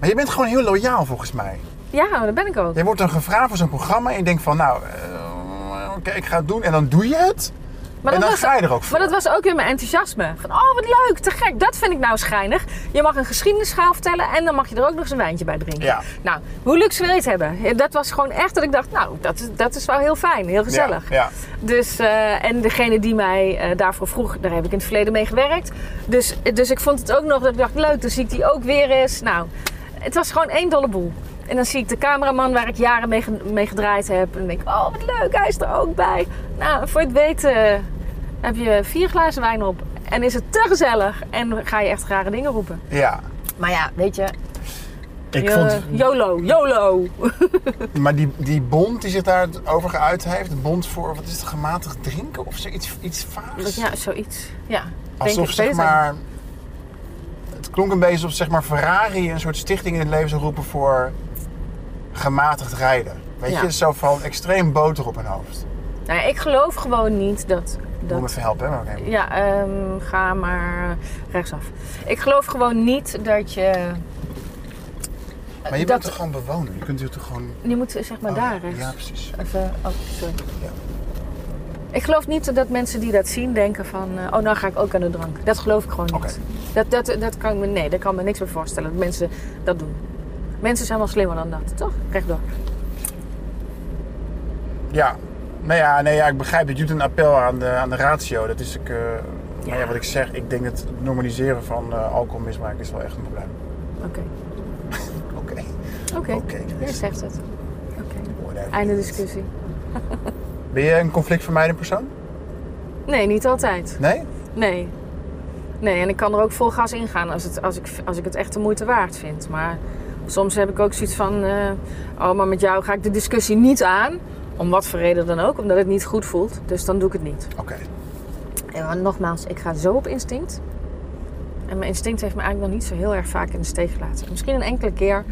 [SPEAKER 2] Maar je bent gewoon heel loyaal volgens mij.
[SPEAKER 3] Ja, dat ben ik ook.
[SPEAKER 2] Je wordt dan gevraagd voor zo'n programma en je denkt van, nou, eh, oké, ik ga het doen. En dan doe je het.
[SPEAKER 3] Maar
[SPEAKER 2] en
[SPEAKER 3] dat
[SPEAKER 2] dan
[SPEAKER 3] was-
[SPEAKER 2] ga je er ook voor.
[SPEAKER 3] Maar dat was ook weer mijn enthousiasme. Van, oh, wat leuk, te gek. Dat vind ik nou schijnig. Je mag een geschiedenisverhaal vertellen en dan mag je er ook nog eens een wijntje bij drinken.
[SPEAKER 2] Ja.
[SPEAKER 3] Nou, hoe luxe wil je het hebben? Ja, Dat was gewoon echt dat ik dacht, nou, dat is, dat is wel heel fijn, heel gezellig.
[SPEAKER 2] Ja, ja.
[SPEAKER 3] Dus, eh, en degene die mij eh, daarvoor vroeg, daar heb ik in het verleden mee gewerkt. Dus, dus ik vond het ook nog dat ik dacht, leuk, dan zie ik die ook weer eens. Nou, het was gewoon één dolle boel. En dan zie ik de cameraman waar ik jaren mee, ge- mee gedraaid heb. En dan denk ik, oh wat leuk, hij is er ook bij. Nou, voor het weten heb je vier glazen wijn op. En is het te gezellig. En ga je echt rare dingen roepen.
[SPEAKER 2] Ja.
[SPEAKER 3] Maar ja, weet je,
[SPEAKER 2] Ik
[SPEAKER 3] eh,
[SPEAKER 2] vond,
[SPEAKER 3] YOLO, YOLO.
[SPEAKER 2] maar die, die bond die zich daarover geuit heeft, de bond voor, wat is het, gematigd drinken of zoiets iets vaags?
[SPEAKER 3] Ja, zoiets. Ja, denk
[SPEAKER 2] Alsof
[SPEAKER 3] ik
[SPEAKER 2] zeg
[SPEAKER 3] beter.
[SPEAKER 2] maar. Het klonk een beetje alsof zeg maar, Ferrari een soort stichting in het leven zou roepen voor gematigd rijden. Weet
[SPEAKER 3] Ja.
[SPEAKER 2] je, zo van extreem boter op hun hoofd.
[SPEAKER 3] Nou, ja, ik geloof gewoon niet dat...
[SPEAKER 2] Moet me
[SPEAKER 3] dat
[SPEAKER 2] even helpen, hè? maar oké.
[SPEAKER 3] ja, ehm, ga maar rechtsaf. Ik geloof gewoon niet dat je...
[SPEAKER 2] Maar je
[SPEAKER 3] dat-
[SPEAKER 2] bent toch gewoon bewoner? Je kunt hier toch gewoon.
[SPEAKER 3] Je moet zeg maar
[SPEAKER 2] Oh,
[SPEAKER 3] daar rechts.
[SPEAKER 2] Ja, precies.
[SPEAKER 3] Even, oh, sorry.
[SPEAKER 2] Ja.
[SPEAKER 3] Ik geloof niet dat mensen die dat zien denken van, eh, oh nou ga ik ook aan de drank. Dat geloof ik gewoon niet.
[SPEAKER 2] Oké.
[SPEAKER 3] Dat, dat, dat kan ik me, nee, daar kan ik me niks bij voorstellen dat mensen dat doen. Mensen zijn wel slimmer dan dat, toch? Rechtdoor.
[SPEAKER 2] Ja. Nou ja, nee, ja, ik begrijp, het doet een appel aan de, aan de ratio. Dat is ik, eh, maar ja, wat ik zeg, ik denk dat het normaliseren van eh, alcoholmisbruik is wel echt een probleem.
[SPEAKER 3] Oké.
[SPEAKER 2] Oké.
[SPEAKER 3] Oké.
[SPEAKER 2] Oké,
[SPEAKER 3] Jij
[SPEAKER 2] dus-
[SPEAKER 3] zegt het. Oké.
[SPEAKER 2] Whatever.
[SPEAKER 3] Einde discussie.
[SPEAKER 2] Ben je een conflictvermijdend persoon?
[SPEAKER 3] Nee, niet altijd.
[SPEAKER 2] Nee?
[SPEAKER 3] Nee. Nee, en ik kan er ook vol gas ingaan als, het, als, ik, als ik het echt de moeite waard vind. Maar soms heb ik ook zoiets van... eh, oh, maar met jou ga ik de discussie niet aan. Om wat voor reden dan ook. Omdat het niet goed voelt. Dus dan doe ik het niet.
[SPEAKER 2] Oké.
[SPEAKER 3] En want nogmaals, ik ga zo op instinct. En mijn instinct heeft me eigenlijk nog niet zo heel erg vaak in de steek gelaten. Dus Misschien een enkele keer.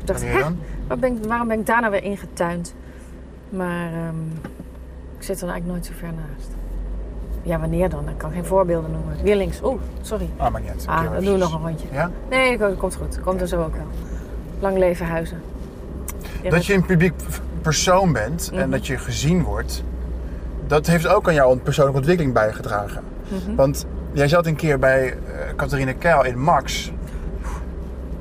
[SPEAKER 3] Ik dacht,
[SPEAKER 2] Wanneer
[SPEAKER 3] hè,
[SPEAKER 2] dan?
[SPEAKER 3] waar ben ik, waarom ben ik daar nou weer ingetuind? Maar ehm, ik zit er eigenlijk nooit zo ver naast. Ja, wanneer dan? Ik kan geen voorbeelden noemen. Weer links. Oeh, sorry.
[SPEAKER 2] Ah, maar niet uit. Oké,
[SPEAKER 3] Ah,
[SPEAKER 2] maar
[SPEAKER 3] dan doen we
[SPEAKER 2] precies.
[SPEAKER 3] nog een rondje.
[SPEAKER 2] Ja?
[SPEAKER 3] Nee, dat komt goed. Komt er zo ook wel. Lang leven huizen. Ja,
[SPEAKER 2] Dat je een publiek p- persoon bent
[SPEAKER 3] Mhm.
[SPEAKER 2] en dat je gezien wordt, dat heeft ook aan jouw persoonlijke ontwikkeling bijgedragen.
[SPEAKER 3] Mhm.
[SPEAKER 2] Want jij zat een keer bij eh Catharina Keil in Max,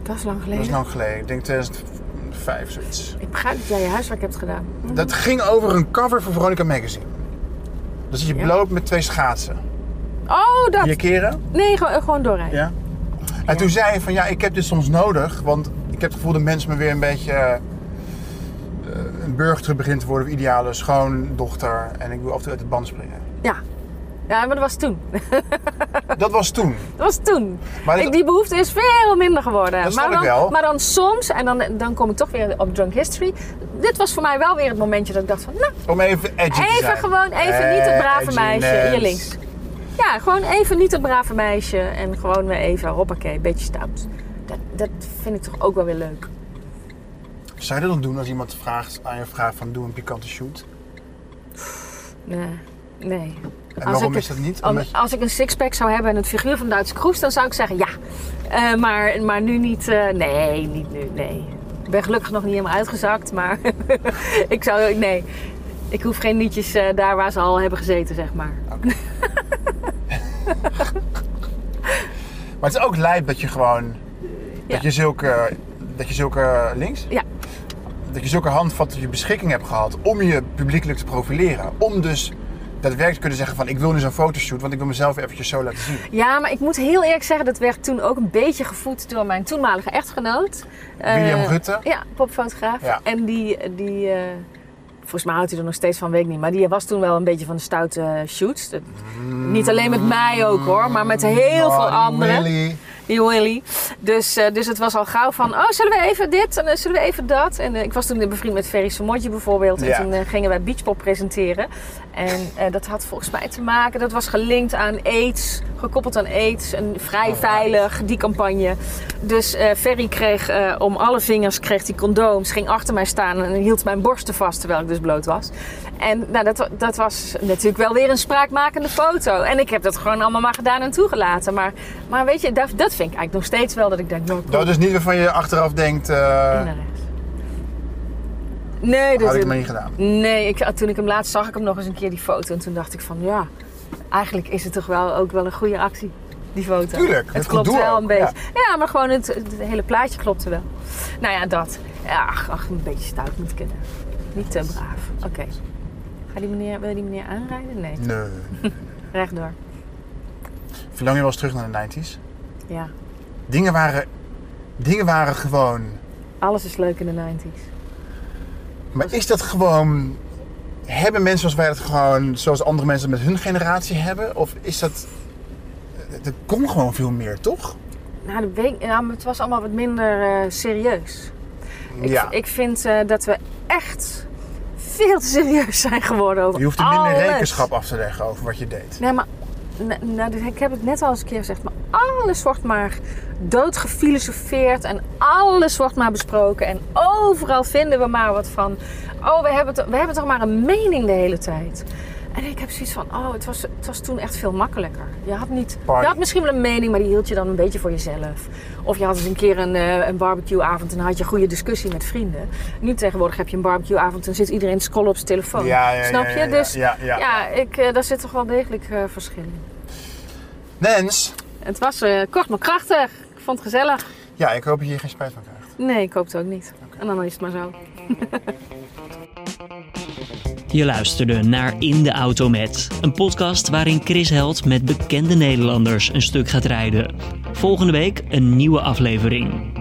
[SPEAKER 3] Dat is lang
[SPEAKER 2] dat
[SPEAKER 3] geleden.
[SPEAKER 2] is lang geleden, ik denk 2005 zoiets.
[SPEAKER 3] Ik begrijp dat jij je huiswerk hebt gedaan. Hm.
[SPEAKER 2] Dat ging over een cover van Veronica Magazine. Dan zit je
[SPEAKER 3] Ja.
[SPEAKER 2] bloot met twee schaatsen.
[SPEAKER 3] Oh, dat.
[SPEAKER 2] Vier keren.
[SPEAKER 3] Nee, gewoon, gewoon doorrijden.
[SPEAKER 2] Ja. En toen zei je van ja, ik heb dit soms nodig, want ik heb het gevoel dat mensen me weer een beetje eh, een burger terug begint te worden, of ideale schoondochter. En ik wil af en toe uit de band springen.
[SPEAKER 3] Ja. Ja, maar dat was toen.
[SPEAKER 2] Dat was toen.
[SPEAKER 3] Dat was toen.
[SPEAKER 2] Maar dat-
[SPEAKER 3] Ik- die behoefte is veel minder geworden.
[SPEAKER 2] Dat
[SPEAKER 3] maar,
[SPEAKER 2] snap
[SPEAKER 3] dan,
[SPEAKER 2] ik wel.
[SPEAKER 3] maar dan soms, en dan, dan kom ik toch weer op Drunk History. Dit was voor mij wel weer het momentje dat ik dacht van... Nou,
[SPEAKER 2] Om even edgy te zijn.
[SPEAKER 3] even gewoon, even niet het brave
[SPEAKER 2] Edgy
[SPEAKER 3] meisje.
[SPEAKER 2] net.
[SPEAKER 3] Hier links. Ja, gewoon even niet het brave meisje. En gewoon weer even, hoppakee, een beetje stout. Dat, dat vind ik toch ook wel weer leuk.
[SPEAKER 2] Zou je dat dan doen als iemand vraagt, aan je vraagt van doe een pikante shoot?
[SPEAKER 3] Nee. nee. En
[SPEAKER 2] waarom is dat niet? Omdat je-
[SPEAKER 3] Als ik een sixpack zou hebben en het figuur van Duitse Kroes, dan zou ik zeggen ja. Eh, maar, maar nu niet. eh, nee, niet nu. Nee. Ik ben gelukkig nog niet helemaal uitgezakt, maar ik zou. Nee. Ik hoef geen liedjes eh, daar waar ze al hebben gezeten, zeg maar.
[SPEAKER 2] Maar het is ook lijp dat je gewoon,
[SPEAKER 3] Ja.
[SPEAKER 2] dat je zulke, dat je zulke, links?
[SPEAKER 3] Ja.
[SPEAKER 2] Dat je zulke handvatten tot je beschikking hebt gehad om je publiekelijk te profileren. Om dus daadwerkelijk kunnen zeggen van ik wil nu zo'n fotoshoot, want ik wil mezelf weer eventjes zo laten zien.
[SPEAKER 3] Ja, maar ik moet heel eerlijk zeggen, dat werd toen ook een beetje gevoed door mijn toenmalige echtgenoot.
[SPEAKER 2] William
[SPEAKER 3] Eh,
[SPEAKER 2] Rutte?
[SPEAKER 3] Ja, popfotograaf.
[SPEAKER 2] Ja.
[SPEAKER 3] En die, die eh, volgens mij houdt hij er nog steeds van, weet ik niet. Maar die was toen wel een beetje van de stoute shoots. Dat-
[SPEAKER 2] Mm.
[SPEAKER 3] Niet alleen met mij ook hoor, maar met heel
[SPEAKER 2] Oh,
[SPEAKER 3] veel anderen.
[SPEAKER 2] really?
[SPEAKER 3] Die Willy. Dus, eh, dus het was al gauw van, oh, zullen we even dit en eh, zullen we even dat. En eh, ik was toen bevriend met Ferry Samotje bijvoorbeeld.
[SPEAKER 2] Ja.
[SPEAKER 3] En toen eh, gingen wij Beachpop presenteren. En eh, dat had volgens mij te maken, dat was gelinkt aan AIDS, gekoppeld aan AIDS. En
[SPEAKER 2] Oh,
[SPEAKER 3] vrij veilig, die campagne. Dus eh, Ferry kreeg eh, om alle vingers kreeg die condooms, ging achter mij staan en hield mijn borsten vast terwijl ik dus bloot was. En nou, dat, wa- dat was natuurlijk wel weer een spraakmakende foto. En ik heb dat gewoon allemaal maar gedaan en toegelaten. Maar, maar weet je, dat, dat vind ik eigenlijk nog steeds wel dat ik denk, nou, kom
[SPEAKER 2] Dat is niet waarvan je achteraf denkt, eh
[SPEAKER 3] naar rechts. Nee, dat
[SPEAKER 2] had ik maar niet gedaan.
[SPEAKER 3] Nee, ik, toen ik hem laatst zag, ik hem nog eens een keer die foto. En toen dacht ik van, ja, eigenlijk is het toch wel ook wel een goede actie, die foto.
[SPEAKER 2] Tuurlijk,
[SPEAKER 3] het
[SPEAKER 2] het
[SPEAKER 3] klopt
[SPEAKER 2] gedoe
[SPEAKER 3] wel
[SPEAKER 2] ook,
[SPEAKER 3] een beetje.
[SPEAKER 2] ja.
[SPEAKER 3] Ja, maar gewoon het, het hele plaatje klopte wel. Nou ja, dat. Ja, Ach, ach een beetje stout moet kunnen. Niet te braaf. Oké. Ga die meneer, wil je die meneer aanrijden? Nee,
[SPEAKER 2] Nee.
[SPEAKER 3] rechtdoor.
[SPEAKER 2] Verlang je wel eens terug naar de 90s?
[SPEAKER 3] Ja,
[SPEAKER 2] Dingen waren, dingen waren gewoon.
[SPEAKER 3] alles is leuk in de 90s.
[SPEAKER 2] Maar is dat gewoon. Hebben mensen zoals wij dat gewoon, zoals andere mensen met hun generatie hebben? Of is dat. Er kon gewoon veel meer, toch?
[SPEAKER 3] Nou, dat weet ik- ja, maar het was allemaal wat minder eh, serieus. Ik, ik vind eh, dat we echt veel te serieus zijn geworden over
[SPEAKER 2] Je hoeft er minder
[SPEAKER 3] alles.
[SPEAKER 2] rekenschap af te leggen over wat je deed.
[SPEAKER 3] Nee, maar n- nou, dus ik heb het net al eens een keer gezegd, maar alles wordt maar doodgefilosofeerd en alles wordt maar besproken en overal vinden we maar wat van. Oh, we hebben, to- we hebben toch maar een mening de hele tijd. En ik heb zoiets van, oh, het was, het was toen echt veel makkelijker. Je had, niet, je
[SPEAKER 2] Party.
[SPEAKER 3] had misschien wel een mening, maar die hield je dan een beetje voor jezelf. Of je had eens een keer een, eh, een barbecueavond en dan had je een goede discussie met vrienden. Nu tegenwoordig heb je een barbecueavond en zit iedereen te scrollen op zijn telefoon. Oh, Snap je?
[SPEAKER 2] ja, ja,
[SPEAKER 3] dus
[SPEAKER 2] Ja, ja.
[SPEAKER 3] ja, ik, eh, daar zit toch wel degelijk eh, verschil in.
[SPEAKER 2] Nens,
[SPEAKER 3] Het was eh, kort maar krachtig. Ik vond het gezellig.
[SPEAKER 2] ja, ik hoop dat je hier geen spijt van krijgt.
[SPEAKER 3] Nee, ik hoop het ook niet. En dan is het maar zo.
[SPEAKER 1] Je luisterde naar In de Auto Met, een podcast waarin Chris Held met bekende Nederlanders een stuk gaat rijden. Volgende week een nieuwe aflevering.